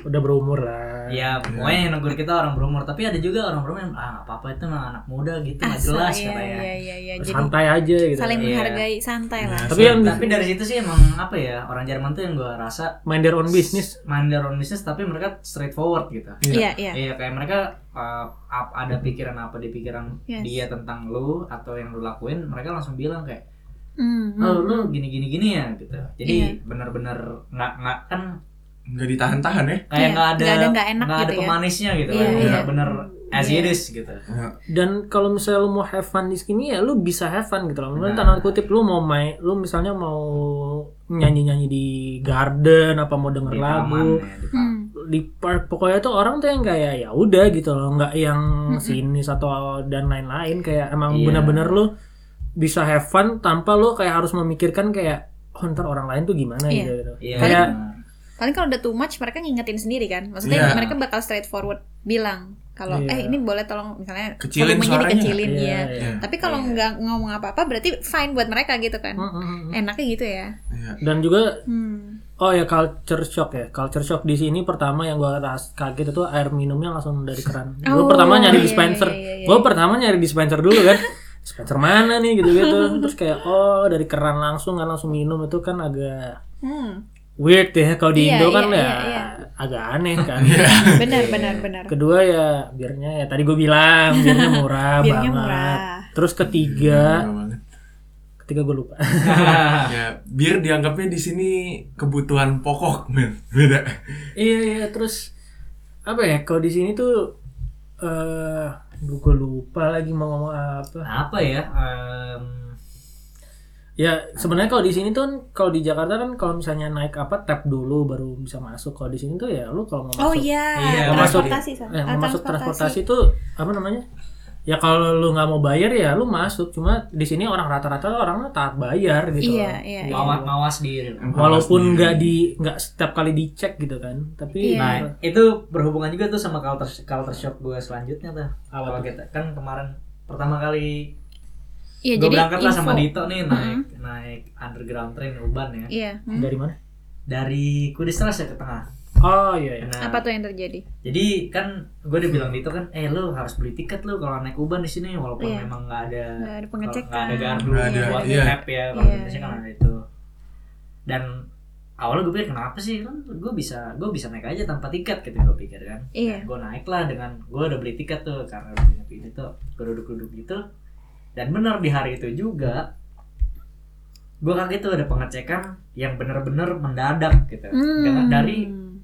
Udah berumur lah. ya pokoknya yang negur kita orang berumur tapi ada juga orang berumur yang ah nggak apa-apa itu mah anak muda gitu nggak Asal, jelas iya, katanya Iya iya iya. Jadi Santai aja gitu. saling Iya. menghargai santai lah. Tapi yang Iya, tapi dari situ sih emang apa ya orang Jerman tuh yang gua rasa mind their own business. mind their own business tapi mereka straightforward gitu Iya iya. Iya kayak mereka uh, ap- ada pikiran apa di pikiran Yes. dia tentang lu atau yang lu lakuin mereka langsung bilang kayak Mm, oh mm, lu gini gini gini ya gitu Iya. jadi benar-benar nggak nggak kan nggak ditahan-tahan ya kayak Iya, nggak ada nggak ada nggak enak nggak ada gitu ya. pemanisnya gitu Iya, kan iya. benar-benar as Iya. it is gitu dan kalau misalnya lu mau have fun di sini ya lu bisa have fun gitu loh. Mungkin Nah. tanda kutip lu mau main, lu misalnya mau nyanyi-nyanyi di garden apa mau denger di taman lagu ya di taman. mm. di park pokoknya tuh orang tuh yang kayak ya udah gitu loh, nggak yang Mm-mm. sinis atau dan lain-lain kayak emang Iya. bener-bener lu bisa have fun tanpa lu kayak harus memikirkan kayak oh, ntar orang lain tuh gimana Iya. gitu. gitu. iya Kayak- benar. Paling kalau udah too much mereka ngingetin sendiri kan. Maksudnya Iya. mereka bakal straightforward bilang kalau Iya. eh ini boleh tolong misalnya Kecilin volumenya suaranya. dikecilin ya. Iya, iya. Iya. Tapi kalau Iya. Hmm. nggak ngomong apa-apa berarti fine buat mereka gitu kan. Mm-mm. Enaknya gitu ya. Iya. Dan juga Hmm. Oh ya culture shock ya. Culture shock di sini pertama yang gua ras- kaget itu air minumnya langsung dari keran. Oh, Gua pertama nyari iya, dispenser. iya, iya, iya. Gua pertama nyari dispenser dulu kan. dispenser mana nih gitu-gitu. Terus kayak oh dari keran langsung kan langsung minum itu kan agak Hmm. weird ya kalau Iya, di Indo kan iya, ya iya, iya. agak aneh kan. Iya. Benar benar benar. Kedua ya birnya ya tadi gua bilang birnya murah Birnya banget. murah. Terus ketiga, Gila Iya, banget. ketiga gua lupa. ya bir dianggapnya di sini kebutuhan pokok men beda Iya iya terus apa ya kalau di sini tuh eh aduh, gua lupa lagi mau ngomong apa. apa ya em, Ya sebenarnya kalau di sini tuh kalau di Jakarta kan kalau misalnya naik apa tap dulu baru bisa masuk. Kalau di sini tuh ya lu kalau mau Oh masuk iya, Iya, masuk- transportasi sama. eh, Ah, mau masuk transportasi tuh apa namanya? Ya kalau lu nggak mau bayar ya lu masuk. Cuma di sini orang rata-rata orangnya taat bayar gitu. Iya, iya, iya. mawas mawas diri Walaupun nggak Sendiri. di nggak setiap kali dicek gitu kan. Iya. Tapi Nah, itu berhubungan juga tuh sama culture, culture shock gue selanjutnya tuh. Kalau kita kan kemarin pertama kali Iya, jadi gue berangkat lah info. sama Mm-hmm. Dito nih naik naik underground train Uban ya. Iya. hmm. dari mana? Dari Kudisras ya ke tengah. Oh iya iya. Nah, Apa tuh yang terjadi? jadi kan gue udah Hmm. bilang Dito kan, eh lu harus beli tiket lu kalau naik Uban di sini walaupun Iya. memang nggak ada Nggak ada kan? kalau pengecekan. nggak ada gardu Nggak ada, buat iya. tap ya kalau di Iya. Indonesia kan ada itu. Dan awalnya gue pikir kenapa sih kan gue bisa gue bisa naik aja tanpa tiket gitu gue pikir kan. Iya. gue naik lah dengan gue udah beli tiket tuh karena udah punya tiket tuh gue duduk-duduk gitu dan benar di hari itu juga gue kaget tuh ada pengecekan yang bener-bener mendadak gitu dengan Hmm. dari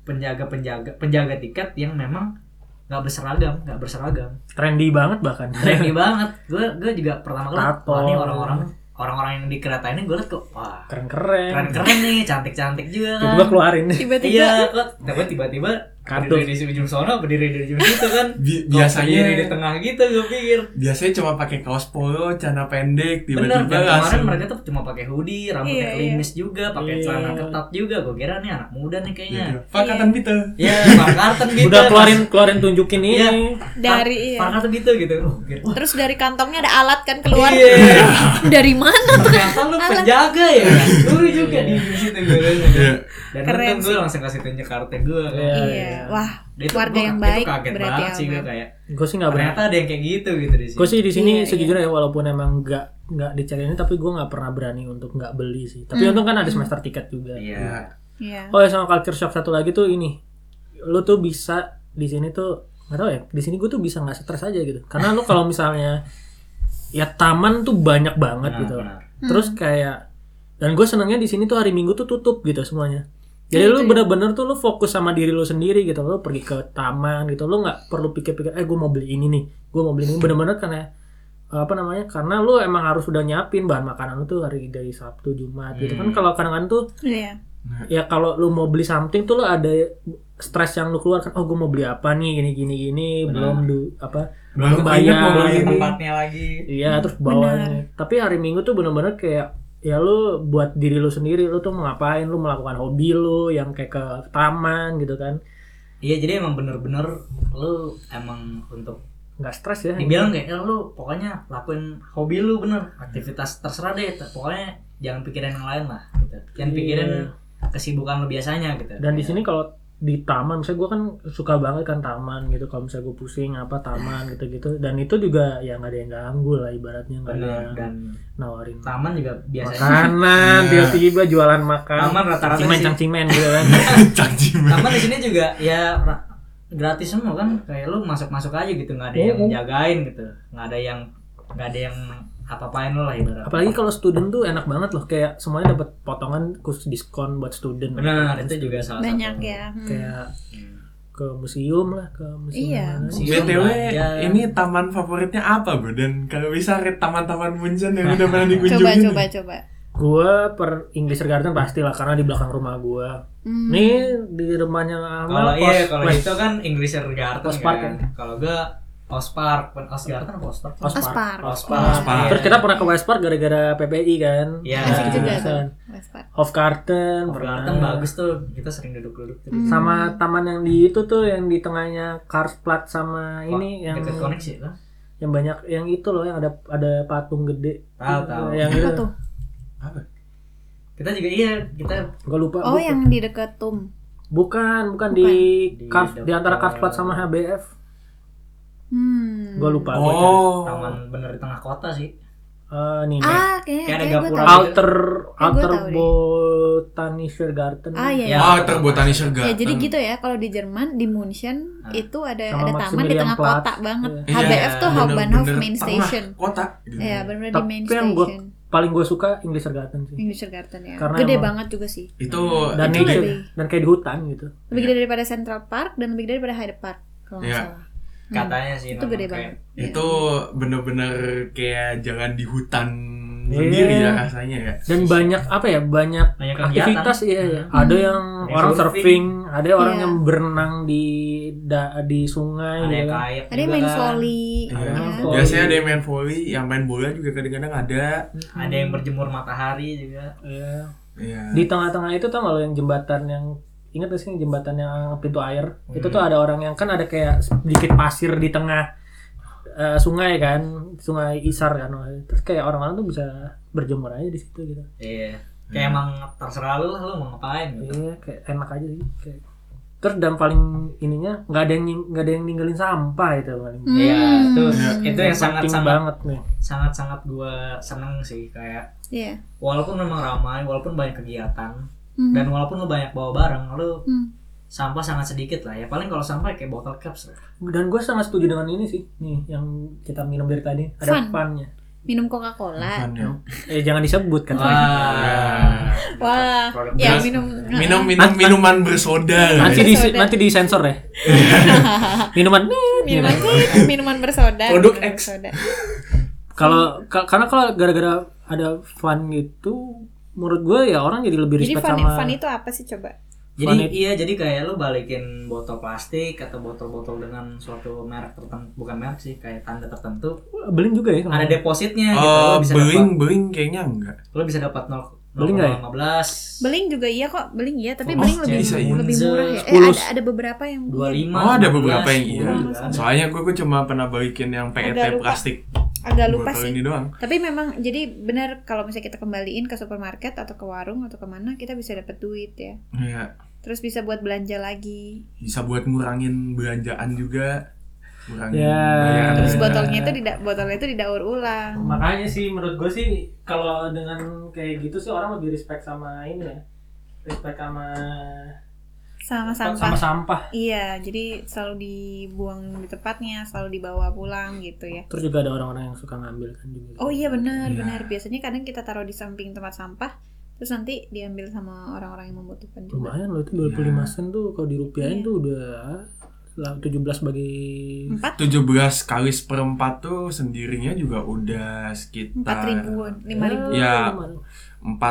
penjaga-penjaga penjaga tiket yang memang nggak berseragam nggak berseragam Trendy banget bahkan. trendy banget gue gue juga pertama kali Tato. wah ini orang-orang orang-orang yang di kereta ini gue liat kok wah Keren-keren. keren-keren nih cantik-cantik juga kan Tiba-tiba keluarin. tiba-tiba iya kok tapi tiba-tiba Kartu. berdiri di ujung sana berdiri di ujung situ kan Bi- biasanya di biasanya tengah gitu gue pikir biasanya cuma pakai kaos polo celana pendek bener tiba-tiba dan kemarin langsung mereka tuh cuma pakai hoodie rambutnya Iya, klimis juga pakai Iya. celana ketat juga gue kira nih anak muda nih kayaknya gitu. Pakatan Peter ya Farkarten gitu Udah keluarin keluarin tunjukin ini. Iya. dari iya. Farkarten gitu gitu Oh, kira- wah, Terus dari kantongnya ada alat kan keluar. Iya. dari mana tuh? ternyata lu penjaga ya lucu juga di ujung situ gue Iya. dan Keren untung gue sih. langsung kasih tunjuk kartu gue Iya, kan Iya. iya. Wah, Dia tuh- warga gua- yang dia tuh baik kaget berarti ya, banget sih gue aman. kayak Gue sih nggak berani. ternyata ada yang kayak gitu gitu di sini Gue sih di sini Iya, iya. sejujurnya ya walaupun emang nggak nggak dicek ini tapi gue nggak pernah berani untuk nggak beli sih. Tapi untung kan ada semester tiket juga. Iya. iya Iya. Oh ya sama culture shock satu lagi tuh ini. Lu tuh bisa di sini tuh nggak tahu ya. Di sini gue tuh bisa nggak stres aja gitu. Karena lu kalau misalnya ya taman tuh banyak banget Benar, gitu. Nah, benar. Terus kayak dan gue senangnya di sini tuh hari Minggu tuh tutup gitu semuanya. Jadi lu bener-bener tuh lu fokus sama diri lu sendiri gitu. Lu pergi ke taman gitu. Lu nggak perlu pikir-pikir, eh gue mau beli ini nih, gue mau beli ini. Bener-bener karena apa namanya? Karena lu emang harus udah nyiapin bahan makanan lu tuh hari dari Sabtu Jumat gitu kan. Hmm. Kalau kadang-kadang tuh Iya. ya kalau lu mau beli something tuh lu ada stres yang lu keluarkan. Oh gue mau beli apa nih? Gini gini gini. Benar. Belum du- apa? Belum Belum banyak mau bayar. beli Ke ini. tempatnya lagi Iya terus bawahnya. Tapi hari Minggu tuh bener-bener kayak ya lu buat diri lu sendiri lu tuh mau ngapain lu melakukan hobi lu yang kayak ke taman gitu kan Iya jadi emang bener-bener lu emang untuk nggak stres ya dibilang kayak "Eh, lu pokoknya lakuin hobi lu bener aktivitas terserah deh t- pokoknya jangan pikirin yang lain lah gitu. jangan Iya. pikirin kesibukan lu biasanya gitu dan di Kayak, sini kalau di taman misalnya gue kan suka banget kan taman gitu kalau misalnya gue pusing apa taman gitu gitu dan itu juga ya nggak ada yang ganggu lah ibaratnya nggak ada bener yang dan nawarin taman juga biasanya makanan Iya. tiba-tiba jualan makan Taman rata-rata cangcimen sih. cangcimen gitu kan Cangcimen. taman di sini juga ya ra- gratis semua kan kayak lu masuk-masuk aja gitu nggak ada yang Iya, kan? jagain gitu nggak ada yang nggak ada yang apa-apain lo lah ibarat Apalagi kalau student tuh enak banget loh kayak semuanya dapat potongan khusus diskon buat student. benar itu juga salah banyak satu. ya hmm. Kayak Hmm. ke museum lah, ke museum. Iya, mana. museum. BTW Belajar. ini taman favoritnya apa bro? Dan kalau bisa ke taman-taman Munchen yang udah pernah dikunjungi coba coba coba Gua per English Garden pastilah karena di belakang rumah gua. Hmm. Nih di rumahnya Kalau Alma, iya pos- kalau pos- itu kan English Garden Post kan. Park kan? Kalau gua Post Park, Pen- Post Garden atau Post Park? Post West Park. Post Post Park. iya. Nah, Terus kita pernah ke West Park gara-gara PPI kan. Iya. Asik juga tuh. Alasan. West Park. Hofgarten Post pernah. Garden kan bagus tuh. Kita sering duduk-duduk tuh. Hmm. Sama taman yang di itu tuh yang di tengahnya Karsplatz sama ini yang dekat koneksi lah. yang banyak yang itu loh yang ada ada patung gede. Tahu Ah, tahu. Yang Apa itu. tuh? Apa? Kita juga iya, kita Gua lupa. Oh, Bu- yang di deket Tum. Bukan, bukan di Di Kars, di, dekat- antara Karsplatz sama HBF. Hmm. Gua lupa gua cari. Oh, taman bener di tengah kota sih. Eh, nih, nih. Ah, kayaknya, Kayak ada kayaknya gue gapura tahu. gitu. Outer gua Outer tahu deh. Botanischer Garten. Ah, iya. Ya. iya. oh terbotanischer Ya, garden. jadi gitu ya kalau di Jerman di München Ah. itu ada Sama ada taman di Maximilian tengah Platz. kota banget. Iya. Iya, HBF tuh bener-bener Hauptbahnhof Main tengah Station. Kota. gitu. Iya, benar-benar di Tapi Main yang gua- Station. Paling gue suka English Garden sih. English Garden ya. Karena Gede emang- banget juga sih. Itu Dan itu nature. juga- lebih- dan kayak di hutan gitu. Lebih gede daripada Central Park dan lebih gede daripada Hyde Park kalau nggak Iya. salah. Hmm. Katanya sih Itu memang gede kayak- banget. Iya. itu bener-bener kayak jalan di hutan Iya. sendiri ya rasanya ya. Dan banyak apa ya? Banyak, Banyak kegiatan. aktivitas iya, iya. Hmm. Ada yang Ada yang orang surfing. surfing, ada yang orang Iya. yang berenang di da- di sungai Ada gitu yang kan. kayak Ada yang main volley. Iya. ya. Oh, Biasanya iya. ada yang main volley, yang main bola juga kadang-kadang ada. Ada yang berjemur matahari juga. Iya. Iya. Di tengah-tengah itu tau nggak lo yang jembatan yang ingat gak sih yang jembatan yang pintu air? Itu tuh ada orang yang kan ada kayak sedikit pasir di tengah eh, sungai kan, sungai Isar kan. Terus kayak orang-orang tuh bisa berjemur aja di situ gitu. Iya. Kayak emang terserah lu lah lu mau ngapain gitu. Iya, kayak enak aja sih. Kayak. Terus dan paling ininya nggak ada yang nying- nggak ada yang ninggalin sampah itu paling. Iya, Hmm. itu Iya. itu yang Penting sangat-sangat banget nih. sangat-sangat gua seneng sih kayak Iya. walaupun memang ramai, walaupun banyak kegiatan, Hmm. dan walaupun lu banyak bawa barang lu Hmm. sampah sangat sedikit lah ya paling kalau sampah kayak botol caps lah Dan gue sangat setuju dengan ini sih, nih yang kita minum dari tadi ada Fun. funnya. Minum Coca-Cola. Fun ya. Eh jangan disebut kan. Wah. Wah, Produk ya Terus, minum Minum minum minuman bersoda. nanti guys. di Soda. nanti disensor ya minuman nih, minuman gitu. minuman bersoda. Produk minuman X. bersoda. kalau ka- karena kalau gara-gara ada fun gitu menurut gue ya orang jadi lebih Jadi respect fun, sama fun ya? itu apa sih coba? jadi Planet. iya jadi kayak lu balikin botol plastik atau botol-botol dengan suatu merek tertentu bukan merek sih kayak tanda tertentu beling juga ya sama- ada depositnya gitu Oh, lu bisa dapat beling beling kayaknya enggak. lu bisa dapat nol Beli nggak ya? 0,15 Beling juga iya kok, beling iya, tapi Oh, beling lebih bisa iya. lebih murah ya. Eh, 10. ada, ada beberapa yang 25 Oh, ada beberapa yang iya. 10 juga ada. Soalnya gue, gue cuma pernah balikin yang gitu. Agak PET lupa. plastik. agak lupa Botol sih. ini doang. Tapi memang jadi benar kalau misalnya kita kembaliin ke supermarket atau ke warung atau kemana kita bisa dapat duit ya. Iya. Terus bisa buat belanja lagi. Bisa buat ngurangin belanjaan juga. Ngurangin Ya. bayaran. Terus Iya. botolnya itu tidak botolnya itu didaur ulang. makanya sih menurut gue sih kalau dengan kayak gitu sih orang lebih respect sama ini ya respect sama Sama sama sampah. sampah Iya, jadi selalu dibuang di tempatnya, selalu dibawa pulang gitu ya. terus juga ada orang-orang yang suka ngambil kan juga Oh iya benar, Iya. benar. Biasanya kadang kita taruh di samping tempat sampah, terus nanti diambil sama orang-orang yang membutuhkan juga. lumayan loh itu 25 sen tuh kalau dirupiahin Iya. Hmm, tuh udah lah 17 bagi Empat 17 kali seperempat tuh sendirinya juga udah sekitar empat Nah. ribuan, lima ribu. Iya. Ya.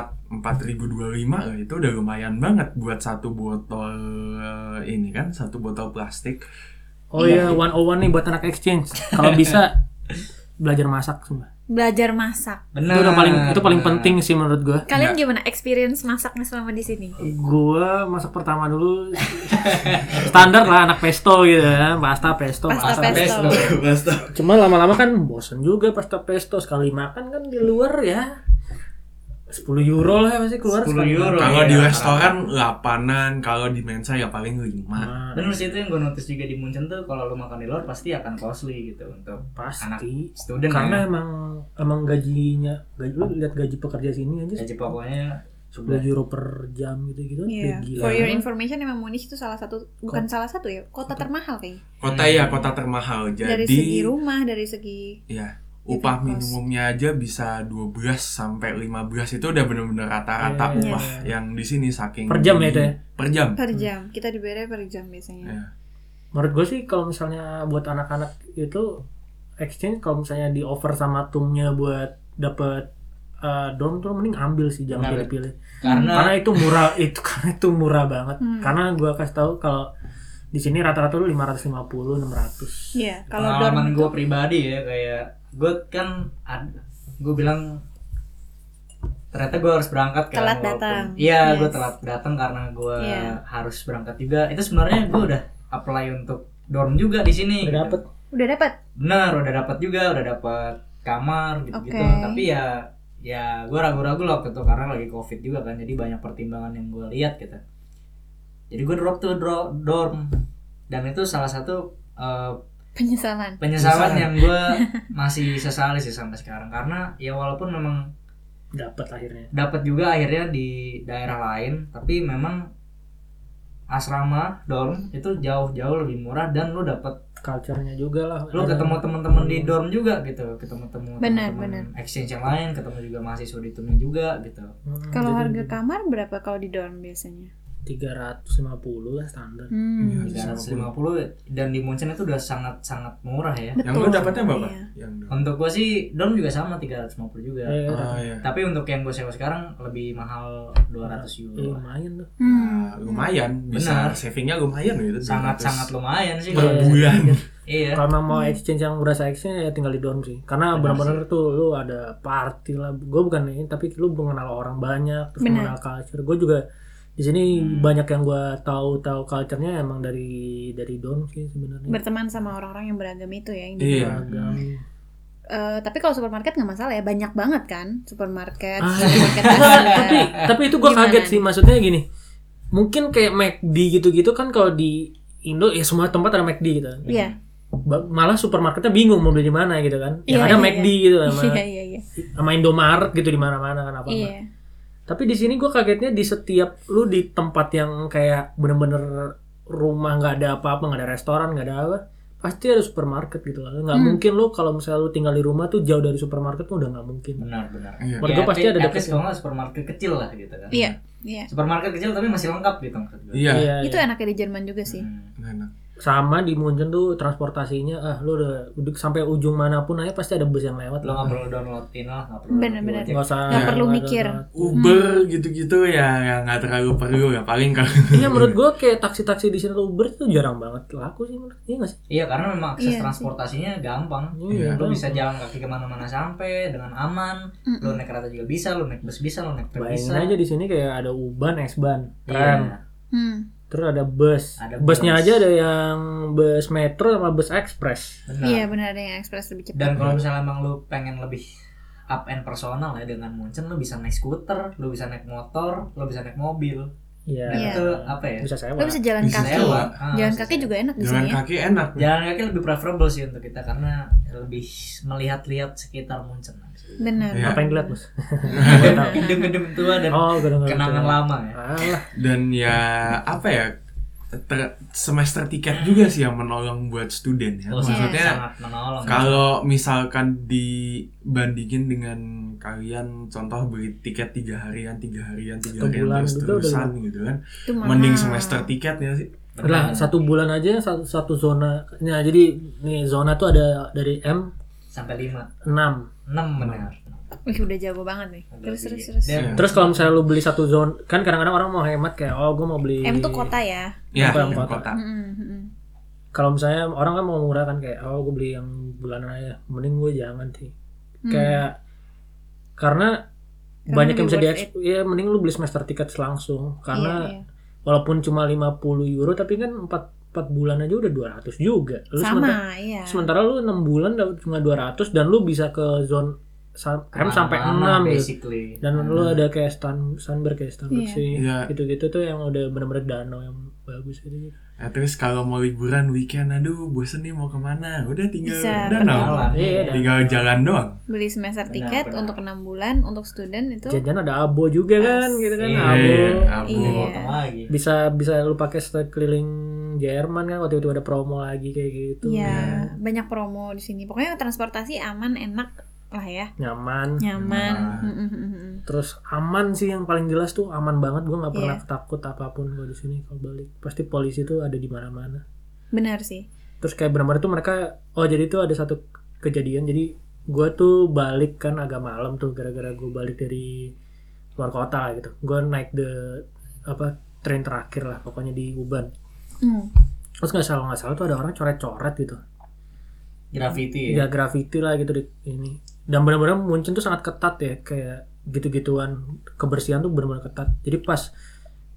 4225 lah itu udah lumayan banget buat satu botol eh, ini kan satu botol plastik Oh iya, 101 nih buat anak exchange. Kalau bisa belajar masak semua. Belajar masak. benar Itu udah paling itu paling penting sih menurut gua. Kalian gimana experience masaknya selama di sini? Gua masak pertama dulu standar lah anak pesto gitu ya, pasta pesto, Pasta pasta. pesto. pesto Cuma lama-lama kan bosen juga pasta pesto sekali makan kan di luar ya. 10 euro lah ya, pasti keluar 10 sekali euro. makan. kalau iya, di rata-rata. restoran delapanan kalau di mensa ya paling lima Nah, benar sih itu yang gue notice juga di Munchen tuh kalau lu makan di luar pasti akan costly gitu untuk anak pasti student karena ya. emang emang gajinya gaji lu lihat gaji pekerja sini aja gaji pokoknya 10 euro per jam gitu-gitu Iya. udah gila. For your information, emang Munich itu salah satu bukan salah satu ya, kota termahal kayaknya. kota ya kota termahal jadi Dari segi rumah, dari segi ya upah Living cost. minimumnya aja bisa 12 sampai 15 itu udah bener-bener rata-rata Iya. upah yang di sini saking Per jam ya itu ya? per jam per jam kita dibayarnya per jam biasanya Iya. Menurut gue sih kalau misalnya buat anak-anak itu exchange kalau misalnya di offer sama tumnya buat dapet eh, dorm tuh mending ambil sih jangan Ambil. pilih-pilih. Karena Karena itu murah itu karena itu murah banget. Hmm. Karena gua kasih tahu kalau di sini rata-rata lu 550 600. iya kalau dorm pengalaman itu gue pribadi ya kayak gue kan gue bilang ternyata gue harus berangkat kan Telat walaupun- datang. iya gue Yes. telat datang karena gue Iya. harus berangkat juga itu sebenarnya gue udah apply untuk dorm juga di sini Udah gitu. dapet. udah dapat benar udah dapat juga udah dapat kamar gitu gitu Oke. tapi ya ya gue ragu-ragu lah waktu itu karena lagi covid juga kan jadi banyak pertimbangan yang gue lihat gitu jadi gue drop tuh dro- dorm dan itu salah satu eh, penyesalan penyesalan Penyesalan. yang gue masih sesali sih sampai sekarang karena ya walaupun memang Dapet akhirnya. dapat juga akhirnya di daerah lain tapi memang asrama dorm itu jauh-jauh lebih murah dan lu dapat Culture-nya juga lah. lu Ada- ketemu teman-teman di Iya. dorm juga gitu ketemu temu Benar, teman exchange yang lain ketemu juga mahasiswa di turnya juga gitu Hmm, kalau jadi harga kamar berapa kalau di dorm biasanya 350 lah standar. hmm. Iya. 350 dan di Munchen itu udah sangat sangat murah ya betul yang lu dapatnya berapa Iya. yang dorm. untuk gua sih dorm juga sama 350 juga Eh, Ah, iya. tapi untuk yang gue sewa sekarang lebih mahal 200 eh, euro lumayan tuh. Hmm. Ah, lumayan bisa Benar. savingnya lumayan gitu sangat 200 sangat lumayan sih per Iya. bulan iya Ya. Kalau emang Hmm. mau exchange yang berasa exchange ya tinggal di dorm sih. Iya Karena Benar benar-benar tuh lu ada party lah. Gue bukan ini tapi lu mengenal orang banyak, terus Benar. mengenal culture. Gue juga di sini Hmm. banyak yang gue tahu-tahu culture-nya emang dari dari dorm sih sebenarnya. berteman sama orang-orang yang beragam itu ya yang di Iya. Beragam. Hmm. Eh, tapi kalau supermarket nggak masalah ya banyak banget kan supermarket Ah. supermarket Nah, Asia. tapi tapi itu gue Gimana kaget nih? sih maksudnya gini. Mungkin kayak McD gitu-gitu kan kalau di Indo ya semua tempat ada McD gitu. iya Ba- Malah supermarketnya bingung mau beli di mana gitu kan. Yang Iya, ada iya, McD gitu sama, iya iya iya sama Indomaret gitu di mana-mana kan apa iya Tapi di sini gue kagetnya di setiap lu di tempat yang kayak bener-bener rumah nggak ada apa-apa nggak ada restoran nggak ada apa pasti ada supermarket gitu loh nggak Hmm. mungkin lu kalau misalnya lu tinggal di rumah tuh jauh dari supermarket tuh udah nggak mungkin benar benar Iya. Menurut gua at- pasti ada at dapet least ya. kalau nggak supermarket kecil lah gitu kan Iya, iya. supermarket kecil tapi masih lengkap gitu maksud Hmm. gue iya itu ya? enaknya di Jerman juga sih Enak. sama di Munchen tuh transportasinya ah lu udah, udah sampai ujung manapun aja pasti ada bus yang lo lewat lah nggak perlu downloadin lah nggak perlu Benar, benar. nggak usah Nggak perlu ada- mikir. Uber gitu-gitu ya ya nggak terlalu perlu ya paling kalau Iya menurut gue kayak taksi-taksi di sini atau Uber tuh jarang banget laku sih menurut iya nggak sih iya karena memang akses Iya sih. transportasinya gampang Iya. lo gampang. bisa jalan kaki kemana-mana sampai dengan aman Hmm. lo Mm-mm. naik kereta juga bisa lo naik bus bisa lo naik tram bisa bayangin aja di sini kayak ada Uban, X-Ban, tram, Iya. Hmm. Terus ada bus. Ada Busnya bus. aja ada yang bus metro sama bus ekspres. benar iya benar ada yang ekspres lebih cepat Dan kalau misalnya emang lu pengen lebih up and personal ya dengan Munchen lu bisa naik skuter, lu bisa naik motor, lu bisa naik mobil. Iya. Dan Iya. itu apa ya? Bisa sewa. lo bisa jalan Bisa kaki sewa. Ah, jalan bisa kaki sewa. juga enak di jalan sini ya kaki enak Jalan kaki lebih preferable sih untuk kita karena lebih melihat-lihat sekitar Munchen. benar Iya. Apa yang dilihat, Mas? Gedung-gedung tua dan Oh, gedung kenangan lama ya. Alah, dan ya apa ya ter- semester tiket juga sih yang menolong buat student ya Lu maksudnya Iya, sangat menolong. kalau misalkan dibandingin dengan kalian contoh beli tiket tiga harian tiga harian tiga Satu harian bulan terus juga terusan udah gitu kan itu mahal. mending semester tiketnya sih Benar. udah satu bulan aja satu satu zona. Nah, jadi nih zona tuh ada dari M sampai 5, 6. 6 benar. Wih, udah jago banget nih terus terus Lebih- terus Dan- Terus kalau misalnya lu beli satu zona, kan kadang-kadang orang mau hemat kayak oh gue mau beli M tuh kota ya ya Kota- yang kota. kota Mm-mm, mm-mm. Kalau misalnya orang kan mau murah kan kayak oh gue beli yang bulanan aja. Mending gue jangan sih. kayak karena, Hmm. Karena banyak yang lebih bisa di worth ya mending lu beli semester tiket langsung Iya, karena iya. walaupun cuma 50 euro tapi kan 4 4 bulan aja udah 200 juga. Lu sama sementara, iya sementara lu 6 bulan dapat cuma 200 dan lu bisa ke zone sa- M Kan sampai Kemana-mana 6 gitu. basically. Dan lu Iya. ada kayak Stan Sunberg kayak Stanberg Iya. sih. Iya. Gitu-gitu tuh yang udah bener-bener danau yang bagus gitu. Eh, terus kalau mau liburan weekend aduh bosen nih mau kemana udah tinggal Bisa, danau Jalan. Iya, dan- tinggal jalan doang beli semester Benar, tiket benar. untuk enam bulan untuk student itu Jajan ada abo juga kan gitu kan. Iya, Abo. Eh, abu. Iya. Potong lagi. Bisa bisa lu pakai set keliling Jerman kan waktu itu ada promo lagi kayak gitu. Iya, banyak promo di sini. Pokoknya transportasi aman, enak lah ya, Nyaman. nyaman. Nyaman. Mm, mm, mm, mm. Terus aman sih yang paling jelas tuh aman banget gua nggak pernah Iya. takut apapun gua di sini kalau balik. Pasti polisi tuh ada di mana-mana. Benar sih. terus kayak benar-benar tuh mereka oh jadi tuh ada satu kejadian jadi gue tuh balik kan agak malam tuh gara-gara gue balik dari luar kota lah gitu gue naik the apa train terakhir lah pokoknya di Uban Mm. terus nggak salah nggak salah tuh ada orang coret-coret gitu Graffiti ya. ya graffiti lah gitu di ini dan benar-benar Munchen tuh sangat ketat ya kayak gitu-gituan kebersihan tuh benar-benar ketat jadi pas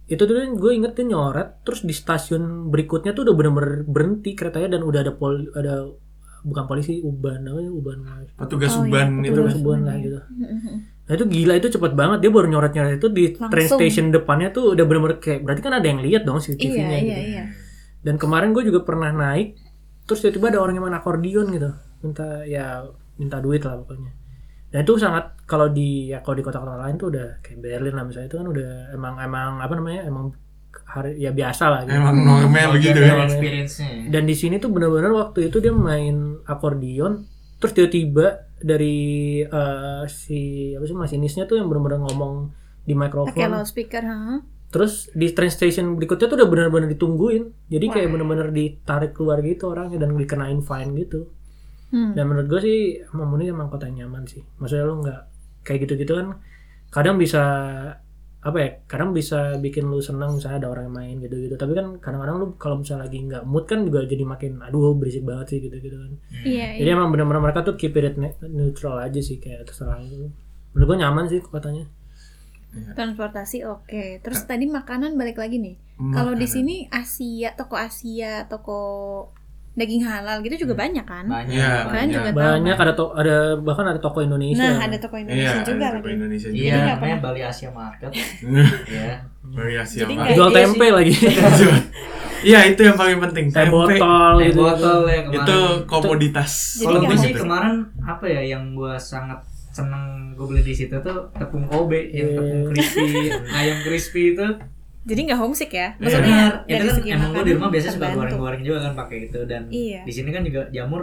itu tuh gue inget dia nyoret terus di stasiun berikutnya tuh udah benar-benar berhenti keretanya dan udah ada pol ada bukan polisi uban namanya uban Petugas Oh, iya, uban petugas itu petugas kan. uban lah gitu Mm, mm, mm. nah itu gila itu cepet banget dia baru nyoret-nyoret itu di train Langsung. station depannya tuh udah benar-benar kayak berarti kan ada yang lihat dong Iya, CCTV-nya gitu iya, iya. dan kemarin gue juga pernah naik terus tiba-tiba ada orang yang main akordeon gitu minta ya minta duit lah pokoknya dan itu sangat kalau di ya kalau di kota-kota lain tuh udah kayak Berlin lah misalnya itu kan udah emang emang apa namanya emang hari ya biasa lah gitu. Emang normal begitu Bagian dari ya. experience-nya ya. dan di sini tuh bener-bener waktu itu dia main akordeon terus tiba-tiba dari eh, si apa sih masinisnya tuh yang bener-bener ngomong di Pakai mikrofon loudspeaker, huh? terus di train station berikutnya tuh udah benar-benar ditungguin jadi kayak benar-benar ditarik keluar gitu orangnya dan dikenain fine gitu Hmm. dan menurut gue sih Mamuni emang kota yang nyaman sih maksudnya lu nggak kayak gitu-gitu kan kadang bisa apa ya kadang bisa bikin lu senang misalnya ada orang yang main gitu-gitu tapi kan kadang-kadang lu kalau misalnya lagi nggak mood kan juga jadi makin aduh berisik banget sih gitu-gitu kan Iya, jadi iya. emang benar-benar mereka tuh keep it ne- neutral aja sih kayak terserah lu menurut gue nyaman sih kotanya Transportasi oke. Terus tadi makanan balik lagi nih. Makanan. Kalau di sini Asia, toko Asia, toko daging halal gitu juga banyak kan? Banyak. Iya, Kalian Banyak. juga tahu. banyak ada to- ada bahkan ada toko Indonesia Nah, ada toko Iya, Indonesia juga ada toko lagi. Indonesia Iya, juga. nggak namanya Bali Asia Market. Iya. Variasi Jadi apa? nggak- jual Iya sih. tempe lagi Iya, itu yang paling penting. teh Tempe. botol Teh gitu botol ya kemarin. Itu komoditas. Jadi Kalau gue nggak sih Gitu. kemarin apa ya yang gue sangat seneng gue beli di situ tuh tepung Kobe yang tepung Iya. crispy ayam crispy itu Jadi nggak homesick Iya. ya? Benar, Maksudnya itu dari kan segi emang gue di makanan rumah biasanya suka terbantu. goreng-goreng juga kan pakai itu dan Iya. di sini kan juga jamur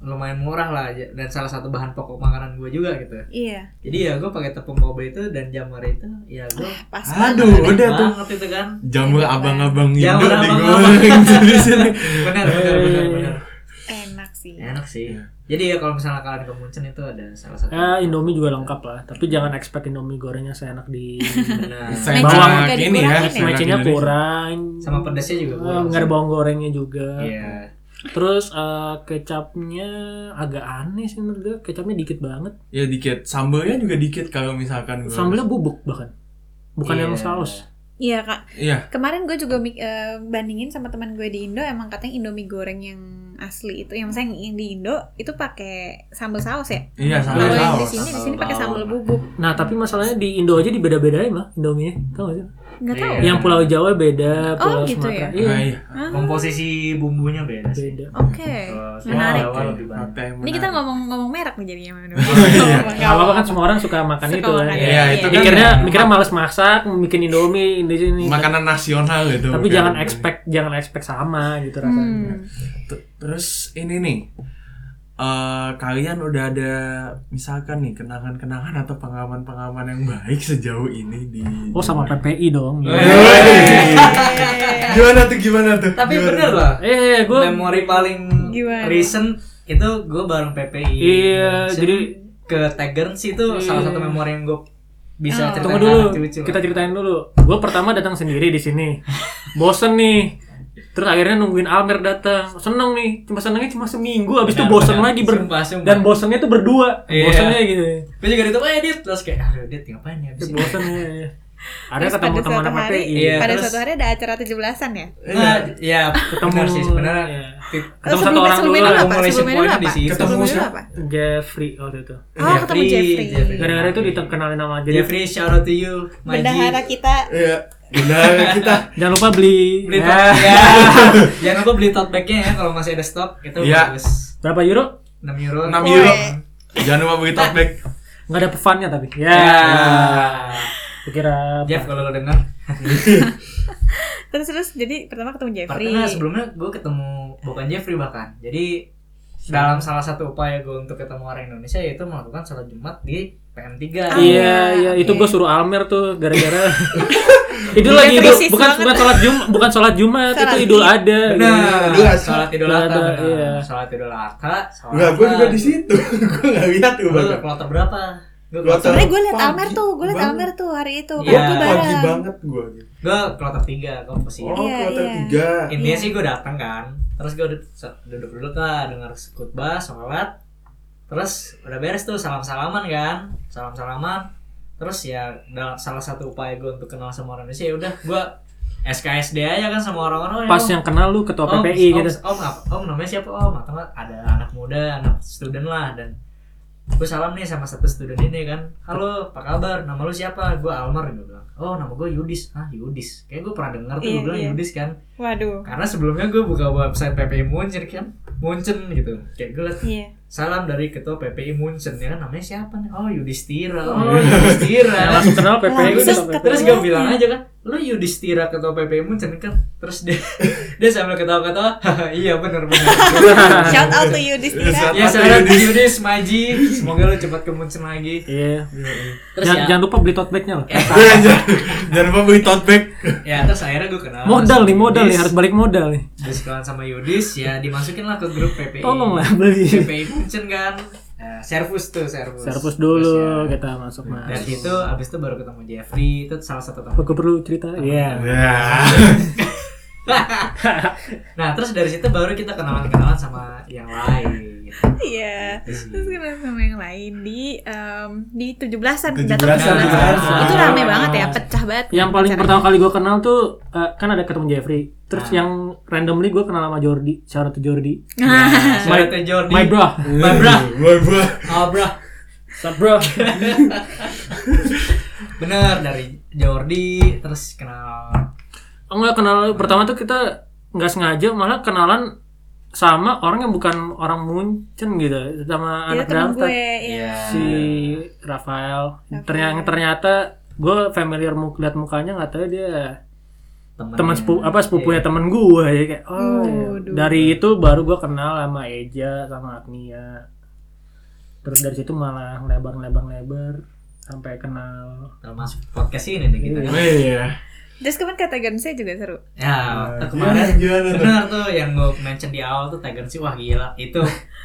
lumayan murah lah ja- dan salah satu bahan pokok makanan gue juga gitu. Iya. Jadi ya gue pakai tepung Kobe itu dan jamur itu ya gue Pas banget. Aduh, udah banget tuh. itu kan. Jamur abang-abang Indo Jamur digoreng di sini. Benar, benar, benar, benar. enak sih. Enak sih. Iya. Jadi ya kalau misalnya kalian ke Munchen itu ada salah satu. Eh, Indomie juga lengkap lah tapi jangan expect Indomie gorengnya seenak di Benar. Saya Bawang bawa agak ini ya. dikurangin ya? seenak macinnya Indonesia. kurang Sama pedasnya juga Eh, kurang. nggak ada bawang gorengnya juga Iya. terus eh, kecapnya agak aneh sih menurut gue kecapnya dikit banget Ya dikit. Sambelnya juga dikit kalau misalkan gua- sambelnya bubuk bahkan bukan Iya. yang saus Iya kak. Iya. Kemarin gue juga mik- eh, bandingin sama teman gue di Indo, emang katanya Indomie goreng yang asli itu, yang saya yang di Indo itu pakai sambal saus ya. Iya, Kalau sambal yang di saus. sini, di sambal sini pakai bawang. sambal bubuk. nah tapi masalahnya di Indo aja dibeda-bedain lah Indominya tau gak sih Nggak tahu. Iya. yang Pulau Jawa beda Oh, Pulau gitu ya? Sumatera Nah, iya iya. Ah, Komposisi bumbunya beda sih. beda Oke. Kalau Menarik. Jawa Oke, lebih banyak. menarik. Ini kita ngomong-ngomong merek nih jadinya. iya. Gak apa-apa kan semua orang suka makan Suka itu kan. makan, Iya, itu kan mikirnya mak- mikirnya males masak, bikin Indomie di sini. makanan nasional gitu. itu. Tapi bukan? jangan expect jangan expect sama gitu rasanya. Hmm. T- Terus ini nih. eh, kalian udah ada misalkan nih kenangan-kenangan atau pengalaman-pengalaman yang baik sejauh ini di Hmm. Oh sama PPI dong. Iya. Eh, Eh, gimana tuh gimana tuh Tapi Gimana bener tuh? lah. eh gue memori paling Gimana? recent itu gue bareng PPI. Iya, Maksudnya jadi- ke Tegern sih itu Iya. salah satu memori yang gue Oh. bisa ceritain tunggu ke dulu. anak cucu. Kita ceritain dulu. Gue pertama datang sendiri di sini. Bosen nih. Terus akhirnya nungguin Almer datang. Seneng nih. Cuma senengnya cuma seminggu. Abis itu Benar, bosen benar. lagi ber Nah, Sumpah, sumpah. dan bosennya tuh berdua. Iya. Bosennya gitu. Gue juga ditemu eh dit terus kayak aduh dit ngapain ya abis ini. Bosennya. Terus iya, Ada pada ketemu teman suatu hari, PPI. Iya, pada terus- suatu hari ada acara 17-an ya? Nah, ya ketemu Iya. Ketemu- sih sebenarnya. iya. Tip- Ketemu Sebelum- satu orang Oh, sebelumnya dulu dulu, apa? accumulation Sebelumnya dulu pointnya di apa? situ. Sebelumnya dulu Ketemu apa? Jeffrey waktu itu. Oh, ketemu Jeffrey. Gara-gara itu dikenalin nama jadi Iya. Jeffrey shout out to you my G. Bendahara kita Iya, benar kita jangan lupa beli, Beli ya. tote- ya. Jangan lupa beli tote bag-nya ya kalau masih ada stok itu Iya. bagus. berapa euro? 6 euro. 6 euro Weh. jangan lupa bagi talkback Nggak ada pefannya tapi. Ya. Ya. Kira Jeff kalau lo denger. Terus terus jadi pertama ketemu Jeffrey. Pertama sebelumnya gue ketemu bukan Jeffrey bahkan. Jadi dalam salah satu upaya gue untuk ketemu orang Indonesia yaitu melakukan sholat Jumat di PM3. Iya, Ah, iya, itu oke. gue suruh Almer tuh gara-gara itu lagi Dia idul, krisis bukan banget. bukan sholat Jumat, bukan sholat Jumat, itu Sholat Idul Id. Adha. Benar. Iya. Sholat Idul Sholat Adha. Adha, benar. iya. Sholat Idul Adha. Sholat. Nah, Enggak, gue juga di situ. gue nggak lihat tuh Lu Iya. banget. kloter berapa? Gue Kloter- kloter, Sebenarnya gue liat Pagi Almer tuh, gue liat banget. Almer tuh hari itu. Iya. Kan gue Pagi bareng. banget gue. gue kloter tiga komposisi. Oh, Iya, kloter iya. tiga. Intinya Iya. sih gue datang kan. Terus gue duduk dulu kan dengar khutbah, sholat. Terus udah beres tuh salam-salaman kan. Salam-salaman. Terus ya dalam salah satu upaya gue untuk kenal sama orang Indonesia ya udah gue SKSD aja kan sama orang-orang Pas Om, yang kenal lu ketua Om, PPI om, gitu. Om, apa- om namanya siapa om? Atau nggak ada anak muda, anak student lah dan gue salam nih sama satu student ini kan halo apa kabar nama lu siapa gue Almer gue bilang oh nama gue Yudis ah Yudis kayak gue pernah denger tuh Iya, gue bilang iya. Yudis kan Waduh. karena sebelumnya gue buka website PPI Munchen kan Munchen gitu kayak gue liat Iya. salam dari ketua PPI Munchen ya kan namanya siapa nih oh Yudhistira oh Yudhistira Langsung kenal Langsung PPI Oh, ketua ketemu. PPI. terus gue bilang aja kan lu Yudhistira ketua PPI Munchen kan terus dia dia sambil ketawa-ketawa "Haha, iya bener bener Nah, Shout out to you Disney. ya saya Yudhis Maji semoga lu cepat ke Munchen lagi Iya. terus Jangan, ya, jangan lupa beli tote bag-nya loh. Gue jangan jangan lupa beli tote bag. ya terus akhirnya gue kenal Modal sama nih, modal Yudhis. nih, harus balik modal nih. Terus kenalan sama Yudis ya dimasukin lah ke grup PPI Tolong lah beli. PPI Munchen kan Iya. Nah, servus tuh servus Servus dulu gitu. Terus ya, kita masuk dari mas. situ abis itu baru ketemu Jeffrey itu salah satu teman Aku perlu cerita. Iya. Ya. nah terus dari situ baru kita kenalan kenalan sama yang lain Iya. Terus kenal sama yang lain di em, di 17-an 17-an. datang ke 17-an. Itu rame Ah. banget ya, pecah banget. Yang paling acaranya. pertama kali gue kenal tuh eh, kan ada ketemu Jeffrey. Terus Ah. yang randomly gue kenal sama Jordi, Syarat Jordi. Ah. Nah, My- shout out to Jordi My bro. my bro My bro. oh bro Sup bro. bener dari Jordi terus kenal Enggak kenal pertama tuh kita nggak sengaja malah kenalan sama orang yang bukan orang Munchen gitu Itu sama anak temen Darmstadt gue, iya. si Ah. Rafael ternyata ternyata gue familiar mu lihat mukanya nggak tahu dia teman sepupu Iya. apa sepupunya temen gue ya kayak oh iya. Waduh. dari itu baru gue kenal sama Eja sama Agnia terus dari situ malah lebar lebar lebar sampai kenal termasuk Iya, podcast ini deh kita Iya. Terus kemarin kata Gansnya juga seru. ya Nah, waktu Gimana kemarin gimana tuh? bener tuh yang gue mention di awal tuh Tiger sih wah gila itu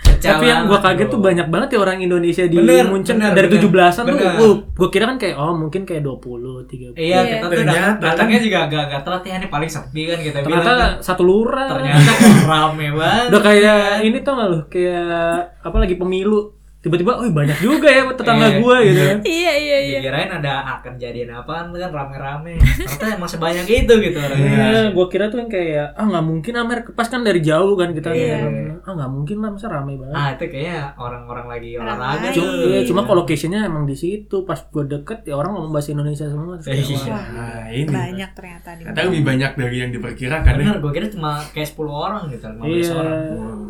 pecah tapi yang gue banget, kaget bro. tuh banyak banget ya orang Indonesia di Bener, Munchen bener, dari bener. tujuh belasan tuh Bener. gue kira kan kayak oh mungkin kayak Iya, 20 30 Iya. kita tuh Ternyata dat- datangnya juga agak-agak telat ya, ini paling sepi kan kita bilang. kan. ternyata satu lurah ternyata rame banget. udah kayak ini tau gak lu kayak apa lagi pemilu tiba-tiba oh banyak juga ya tetangga Iya. gue gitu kan Iya, iya, iya. Dikirain ada akan jadian apaan kan rame-rame. Ternyata emang sebanyak itu gitu orangnya. Iya, gua kira tuh yang kayak ah nggak mungkin Amer pas kan dari jauh kan kita Iya. ngeliat, ah nggak mungkin lah masa rame banget. Ah, itu kayaknya orang-orang lagi Orang olahraga gitu. lain. Cuma, tuh. iya, cuma kalau locationnya emang di situ pas gua deket ya orang ngomong bahasa Indonesia semua. Terus kayak, Iya. wah. Nah, ini. Banyak ternyata di. Ternyata lebih banyak dari yang diperkirakan ya. Bener, gue kira cuma kayak 10 orang gitu, 15 Iya. orang.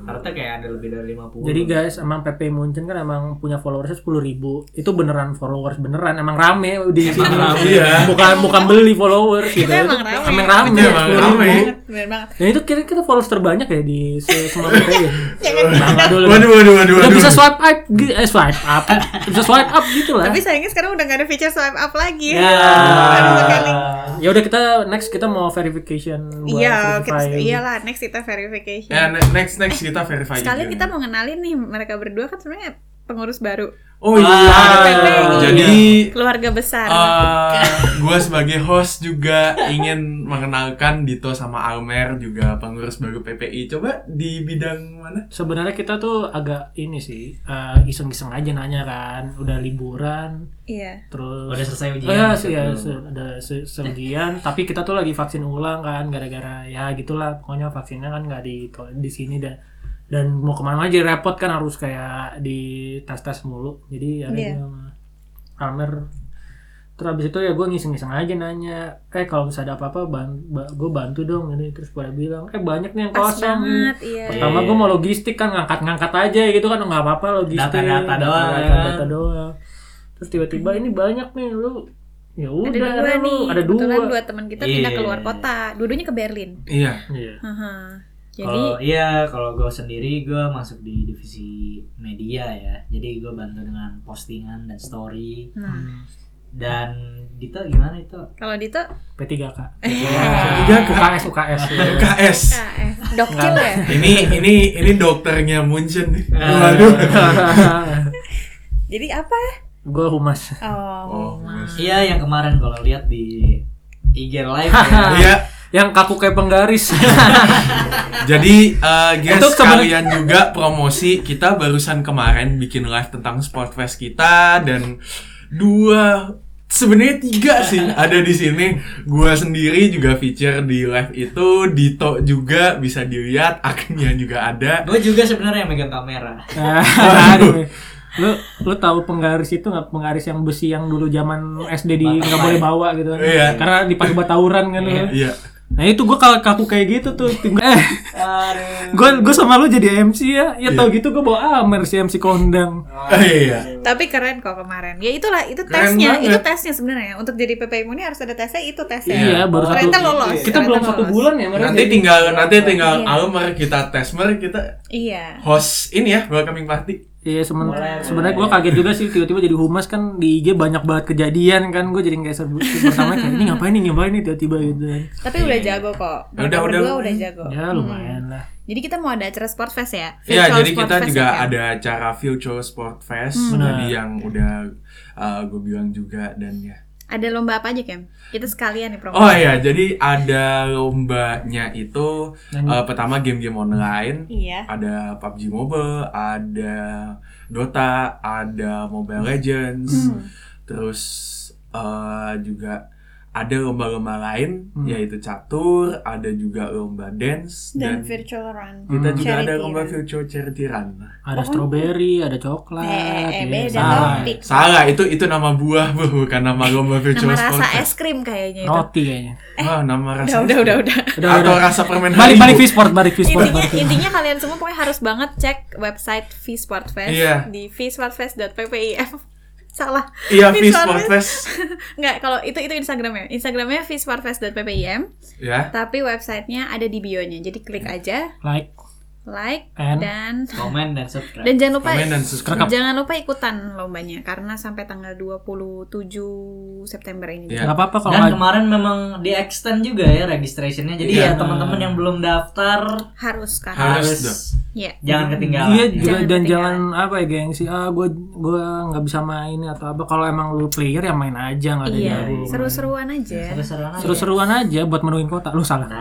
Ternyata kayak ada lebih dari 50. Jadi guys, emang PP Munchen kan emang punya followersnya sepuluh ribu. Itu beneran followers beneran, emang rame di sini. Iya. Bukan bukan beli followers gitu. Kita emang rame. Emang rame. iya, Kita emang 10.000. rame. Banget, bener banget. Nah itu kira kita followers terbanyak ya di se- semua PP ya. Jangan. Bangga dulu. Nah, Waduh, waduh, waduh, Udah waduh. bisa swipe up, gi- eh, swipe up, bisa swipe up gitu lah. Tapi sayangnya sekarang udah gak ada feature swipe up lagi. Ya. Baru sekali. ya udah kita next kita mau verification buat gitu. Iya, kita, verify. iyalah next kita verification. Ya, ne- next next kita verify. Sekalian juga. kita mau ngenalin nih mereka berdua kan sebenarnya pengurus baru, Oh iya. Ah, PPI. Jadi keluarga Iya. besar. Eh, gue sebagai host juga ingin mengenalkan Dito sama Almer juga pengurus baru PPI. Coba di bidang mana? Sebenarnya kita tuh agak ini sih eh, iseng-iseng aja nanya kan, udah liburan, Iya. terus udah selesai ujian. Oh ya, gitu. sih, ya, se- ada se- sebagian, tapi kita tuh lagi vaksin ulang kan, gara-gara ya gitulah, pokoknya vaksinnya kan nggak di di sini dan dan mau kemana aja repot kan harus kayak di tes-tes mulu, jadi ada Iya. sama Almer. Terus abis itu ya gue ngiseng-ngiseng aja nanya, eh kalau misalnya ada apa-apa, gue bantu dong, ini terus pada bilang, eh banyak nih yang Pas kosong. banget, iya. Pertama Iya. gue mau logistik kan ngangkat-ngangkat aja gitu kan nggak apa-apa logistik. Data-data doang. Data-data doang. Terus tiba-tiba ini banyak nih lu Ya ada udah, dua nih. ada Kebetulan dua. dua teman kita pindah Iya. keluar kota. Dua-duanya ke Berlin. Iya. Iya. Haha. Jadi Kalau iya, kalau gue sendiri gue masuk di divisi media ya. Jadi gue bantu dengan postingan dan story nah, Hmm. dan Dito gimana itu? kalau Dito P3K. Iya, UKS UKS. KS. KS dokcil Nah, ya. Ini ini ini dokternya Munchen nih. Ah. Waduh. Jadi apa? Gue humas. Oh, Oh, mas. Iya, yang kemarin kalau lihat di IG live ya. Iya. Yang kaku kayak penggaris. Jadi eh, guys Untuk seben- kalian juga promosi kita barusan kemarin bikin live tentang Sport Fest kita dan dua sebenarnya tiga sih ada di sini. Gua sendiri juga feature di live itu, Dito juga bisa dilihat, akunnya juga ada. Gue juga sebenarnya yang megang kamera. Aduh. lu lu tahu penggaris itu nggak penggaris yang besi yang dulu zaman SD di nggak boleh bawa gitu kan Iya. karena dipakai buat tawuran kan lu. Iya. nah itu gue kalau kaku kayak gitu tuh eh Aduh. gue gue sama lu jadi MC ya ya tau gitu gue bawa Amer si MC kondang Iya. tapi keren kok kemarin. Ya itulah itu Keren tesnya, banget. itu tesnya sebenarnya. Untuk jadi PPI Muni harus ada tesnya, itu tesnya. iya baru satu Ternyata lolos. kita ternyata belum satu lolos. bulan ya mereka Nanti jadi- tinggal nanti tinggal Iya. Almer kita tesmer kita Iya. host ini ya welcoming party. Iya semen- Boleh, sebenarnya gue boleh. kaget juga sih tiba-tiba jadi humas kan di IG banyak banget kejadian kan gue jadi kayak serbu pertama kayak ini ngapain nih ngapain nih tiba-tiba gitu kan Tapi udah jago kok. Mereka Udah, udah, berdua udah. udah jago. Hmm. ya lumayan lah Jadi kita mau ada acara Sport Fest ya? Iya, Virtual jadi Sport kita Fest juga ya, Hmm. kan? ada acara Future Sport Fest Benar. tadi yang udah gue bilang juga dan ya. Ada lomba apa aja, Kem? Kita sekalian nih promo. Oh iya, jadi ada lombanya itu Dan- eh, pertama game-game online, Iya. ada PUBG Mobile, ada Dota, ada Mobile Legends, Hmm. terus eh, juga ada lomba-lomba lain Hmm. yaitu catur, ada juga lomba dance Dan virtual run. kita juga ada charity lomba run. virtual charity run. ada strawberry ada coklat Eh, eh, ya. beda Salah. topik. Salah, itu itu nama buah bro, bukan nama lomba virtual Nama rasa sport. es krim kayaknya itu. roti kayaknya Wah, nama Udah, rasa. udah, udah, udah. udah Atau udah rasa permen Haribo. balik balik Vsport balik Vsport intinya balik intinya kalian semua pokoknya harus banget cek website vsportfest Iya. di vsportfest.ppif salah Iya, Fish Fish Sport Sport Fest. nggak kalau itu itu instagramnya instagramnya vsportfest.ppim Ya. tapi websitenya ada di bio nya jadi klik Iya. aja like like And? dan Komen dan subscribe. dan jangan lupa Komen dan subscribe. Rekam. jangan lupa ikutan lombanya karena sampai tanggal 27 September ini Iya. nggak apa-apa kalau Dan nggak- kemarin memang di extend juga ya registrationnya. Jadi Iya. ya teman-teman yang belum daftar harus kan Harus. harus dah. ya jangan ketinggalan. Iya Jangan juga dan ketinggalan. jangan apa ya gengsi ah gue gua nggak bisa main atau apa kalau emang lu player ya main aja nggak ada iya yang jago. seru-seruan Iya, aja Seru-seruan aja. seru-seruan aja buat menuin kota lu salah Nah,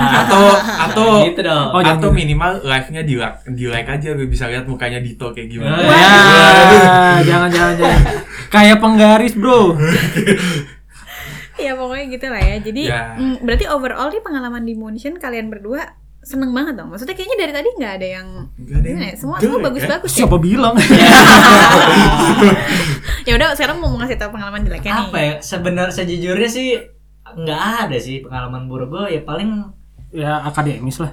Atau atau gitu dong. Oh, jangan atau gitu. minimal live-nya di like, di like aja biar bisa lihat mukanya Dito kayak gimana. Iya. Wah. ya Iya. jangan jangan jangan kayak penggaris bro Ya pokoknya gitu lah ya. Jadi Ya. mm, berarti overall nih pengalaman di Moonshine kalian berdua seneng banget dong. Maksudnya kayaknya dari tadi nggak ada yang Nggak ada yang gimana ya, semua jelek semua ya? bagus-bagus ya. siapa bilang Ya udah sekarang mau ngasih tahu pengalaman jeleknya nih. apa ya sebenar sejujurnya sih nggak ada sih pengalaman buruk gue ya paling ya akademis lah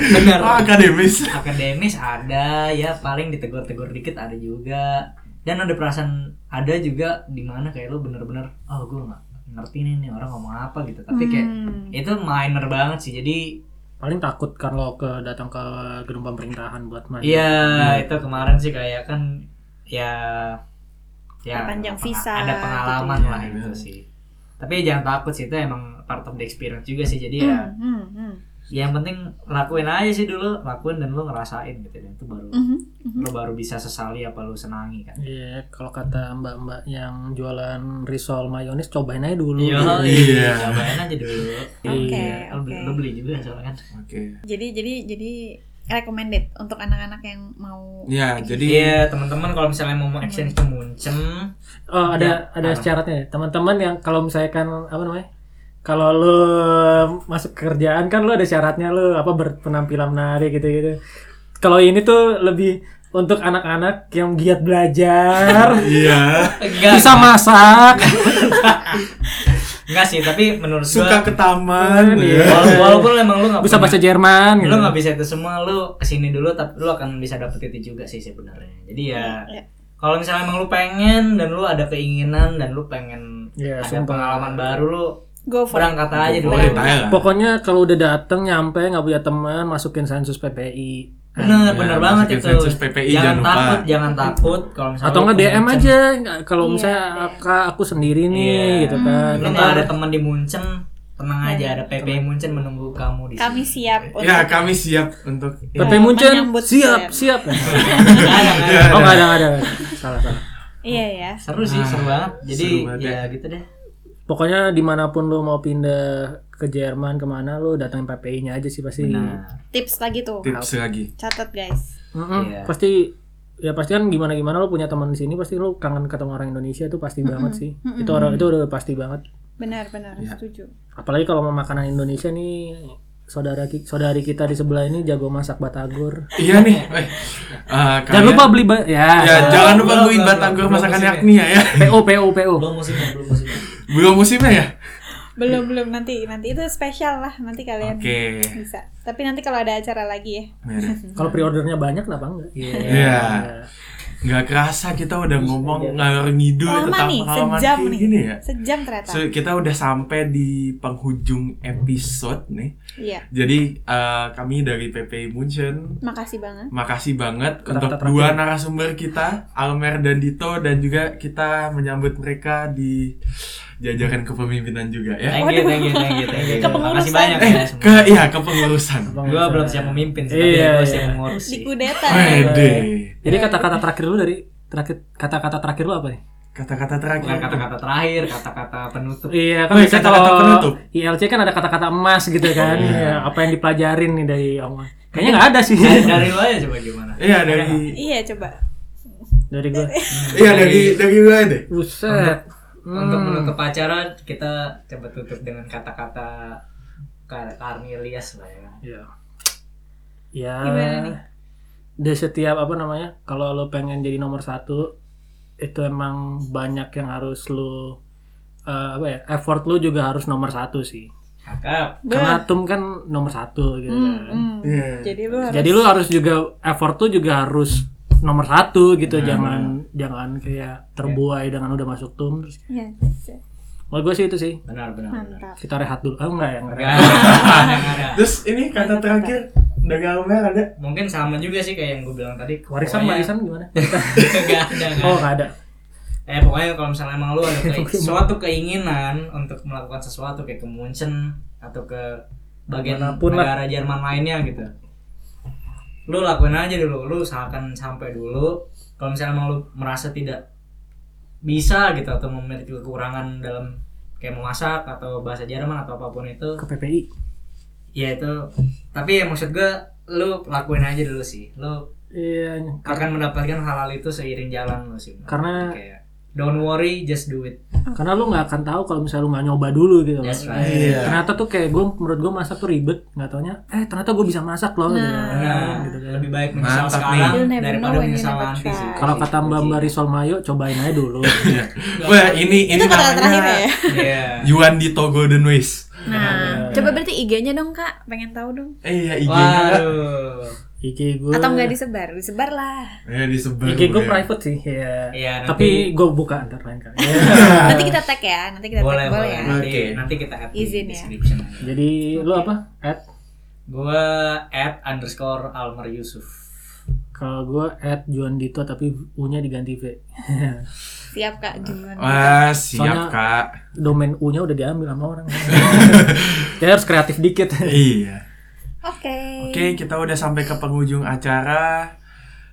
benar Ah, akademis. akademis ada ya paling ditegur-tegur dikit ada juga dan ada perasaan ada juga di mana kayak lu bener-bener oh gue nggak ngerti nih, nih orang ngomong apa gitu tapi kayak Hmm. itu minor banget sih jadi paling takut kalau ke datang ke gedung pemerintahan buat main iya itu kemarin sih kayak kan ya ya Perpanjang peng- visa, ya. ada pengalaman gitu. lah itu sih tapi jangan takut sih itu emang part of the experience juga sih jadi Iya. ya Hmm, hmm, hmm. Ya, yang penting lakuin aja sih dulu lakuin dan lu ngerasain gitu dan itu baru Mhm, mhm. lu baru bisa sesali apa lu senangi kan Iya, kalau kata mbak-mbak yang jualan risol mayonis cobain aja dulu. Iya, Iya. cobain aja dulu. Oke, Iya, lu beli- oke. Lu beli juga soalnya kan. Oke. Jadi jadi jadi recommended untuk anak-anak yang mau Ya, jadi Iya, teman-teman kalau misalnya mau mau exchange ke Munchen, Oh, ada ada Apa? syaratnya ya. Teman-teman yang kalau misalkan apa namanya? Kalau lu masuk kerjaan kan lu ada syaratnya lu apa berpenampilan menarik gitu-gitu. Kalau ini tuh lebih untuk anak-anak yang giat belajar, iya. enggak bisa masak. Iya, enggak sih, tapi menurut Suka gua ke taman. Iya. wala- walaupun emang lu enggak bisa bahasa Jerman lu gitu. nggak bisa itu semua lu kesini dulu tapi lu akan bisa dapet itu juga sih sebenarnya jadi ya Iya. kalau misalnya emang lu pengen dan lu ada keinginan dan lu pengen Iya, ada sumpah. pengalaman baru lo Go for it. berangkat aja dulu Boleh tanya lah. Pokoknya kalau udah dateng nyampe nggak punya teman masukin sensus PPI Ya, bener bener banget masukin itu sensus PPI, jangan jangan lupa. takut jangan takut kalau misalnya atau lo nggak punya DM cen- aja nggak- kalau Iya, misalnya DM. Kak, aku sendiri nih Iya. gitu kan. lo nggak ada teman di Munchen tenang aja ada PP Munchen menunggu kamu di sini Kami siap untuk Ya kami siap untuk ya. PPI Munchen Menyambut siap kalian. siap. Nggak ada, nggak ada. oh nggak ada nggak ada salah salah. Iya ya. seru sih seru banget jadi Nah, seru banget ya gitu deh Pokoknya dimanapun lo mau pindah ke Jerman kemana lo datangin PPI-nya aja sih pasti. nah Tips lagi tuh. tips lagi. Catat guys. Mm-mm, Iya. Pasti ya pasti kan gimana gimana lo punya teman di sini pasti lo kangen ketemu orang Indonesia itu pasti banget sih. Itu orang itu udah pasti banget. Benar benar Iya. setuju. Apalagi kalau mau makanan Indonesia nih saudara ki- saudari kita di sebelah ini jago masak batagor. Iya nih. Eh, eh, Jangan kalian- lupa beli ba- ya. Ya, jangan lupa belum, beliin belum, batagor belum masakan musimnya. yakni ya ya. PO PO PO. belum musimnya belum ya. musimnya Belum musimnya ya? Belum belum nanti nanti itu spesial lah nanti kalian Oke. bisa. Tapi nanti kalau ada acara lagi ya. Merah. Kalau pre-ordernya banyak kenapa enggak? Iya. Nggak kerasa kita udah ngomong ngalor ngidul Lama tentang nih pengalaman sejam kayak nih. gini ya. Sejam ternyata. So, kita udah sampai di penghujung episode nih. Iya. Jadi eh, kami dari PP Munchen Makasih banget. Makasih banget Kata-kata untuk terakhir. dua narasumber kita, Almer dan Dito dan juga kita menyambut mereka di jajaran kepemimpinan juga ya. thank you thank you thank you thank you makasih Kepengurusan. banyak Eh, ya semua ke iya kepengurusan. gue belum siap memimpin sih, tapi Iya, gue iya. siap mengurus Di sih. kudeta. Wede. Jadi kata-kata terakhir lu dari terakhir kata-kata terakhir lu apa nih? Iya, Kata-kata bukan terakhir. kata-kata terakhir kata-kata penutup Iya, kan Wih, biasanya kata-kata kalau penutup. ILC kan ada kata-kata emas gitu kan. Iya, apa yang dipelajarin nih dari Oma? Kayaknya nggak ada sih. dari, dari lo aja coba gimana Iya dari Iya coba. dari gua. Hmm. iya dari Iya. dari gue deh. Buset. Hmm. untuk menutup acara kita coba tutup dengan kata-kata Kar- Karnelias lah ya Iya. Ya. Gimana nih? Di setiap apa namanya? Kalau lo pengen jadi nomor satu, itu emang banyak yang harus lo eh, apa ya? Effort lo juga harus nomor satu sih. cakep Karena atom kan nomor satu gitu kan. Hmm. Iya. Jadi lu harus Jadi lu harus juga effort tuh juga harus nomor satu Nah. gitu, jangan jangan kayak terbuai dengan udah masuk tum. Terus, Iya. menurut gue sih itu sih, benar benar benar Mantap. kita rehat dulu. Oh enggak ya, enggak. Gak ada, gak ada. Terus ini kata terakhir dari Almer ada. mungkin sama juga sih kayak yang gue bilang tadi Warisan pokoknya- warisan gimana? Gak ada gak ada. oh enggak ada. eh pokoknya kalau misalnya emang lu ada ke- suatu keinginan untuk melakukan sesuatu kayak ke Munchen atau ke bagian Manapun lah. negara Jerman lainnya gitu lu lakuin aja dulu lu usahakan sampai dulu kalau misalnya emang lu merasa tidak bisa gitu atau memiliki kekurangan dalam kayak memasak atau bahasa Jerman atau apapun itu Ke PPI. ya itu tapi ya maksud gue lu lakuin aja dulu sih lu Iya. akan mendapatkan hal-hal itu seiring jalan lu sih Karena- kayak don't worry just do it Karena lu nggak akan tahu kalau misalnya lu nggak nyoba dulu gitu. loh. That's right. Iya. Ternyata tuh kayak gue menurut gue masak tuh ribet, nggak taunya eh ternyata gue bisa masak loh. gitu. Nah, Gitu kan. lebih baik menyesal Mantap sekarang nih. You'll never daripada know when you menyesal never nanti try. sih. Kalau kata Mbak Mbak Risol Mayo cobain aja dulu. Iya. Wah ini ini Itu kata terakhir namanya ya. Iya. Yuan Dito Golden Ways. iya, Nah, coba berarti IG-nya dong Kak, pengen tahu dong. Eh iya IG-nya nggak? Waduh. IG gue. Atau nggak disebar? Disebar lah. Ya disebar. IG gue boleh. private sih, ya. Iya, Tapi gue buka antar lain kali. Nanti kita tag ya, nanti kita tag boleh, Boleh, boleh. ya. Nanti, Oke. nanti kita add di Izin ya. description. Jadi lu apa? At Gua add underscore Almer Yusuf. kalau gue at Juan Dito tapi U-nya diganti V. Siap Kak, duluan. Wah siap Soalnya- kak. Domain U-nya udah diambil sama orang. Kita harus kreatif dikit. Iya. Oke. Oke, kita udah sampai ke penghujung acara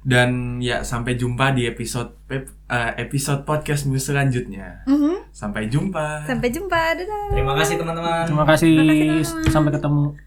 dan ya sampai jumpa di episode pep- eh, episode podcast selanjutnya. Mhm. Sampai jumpa. Sampai jumpa. Dadah. Terima kasih teman-teman. Terima kasih. Sampai ketemu.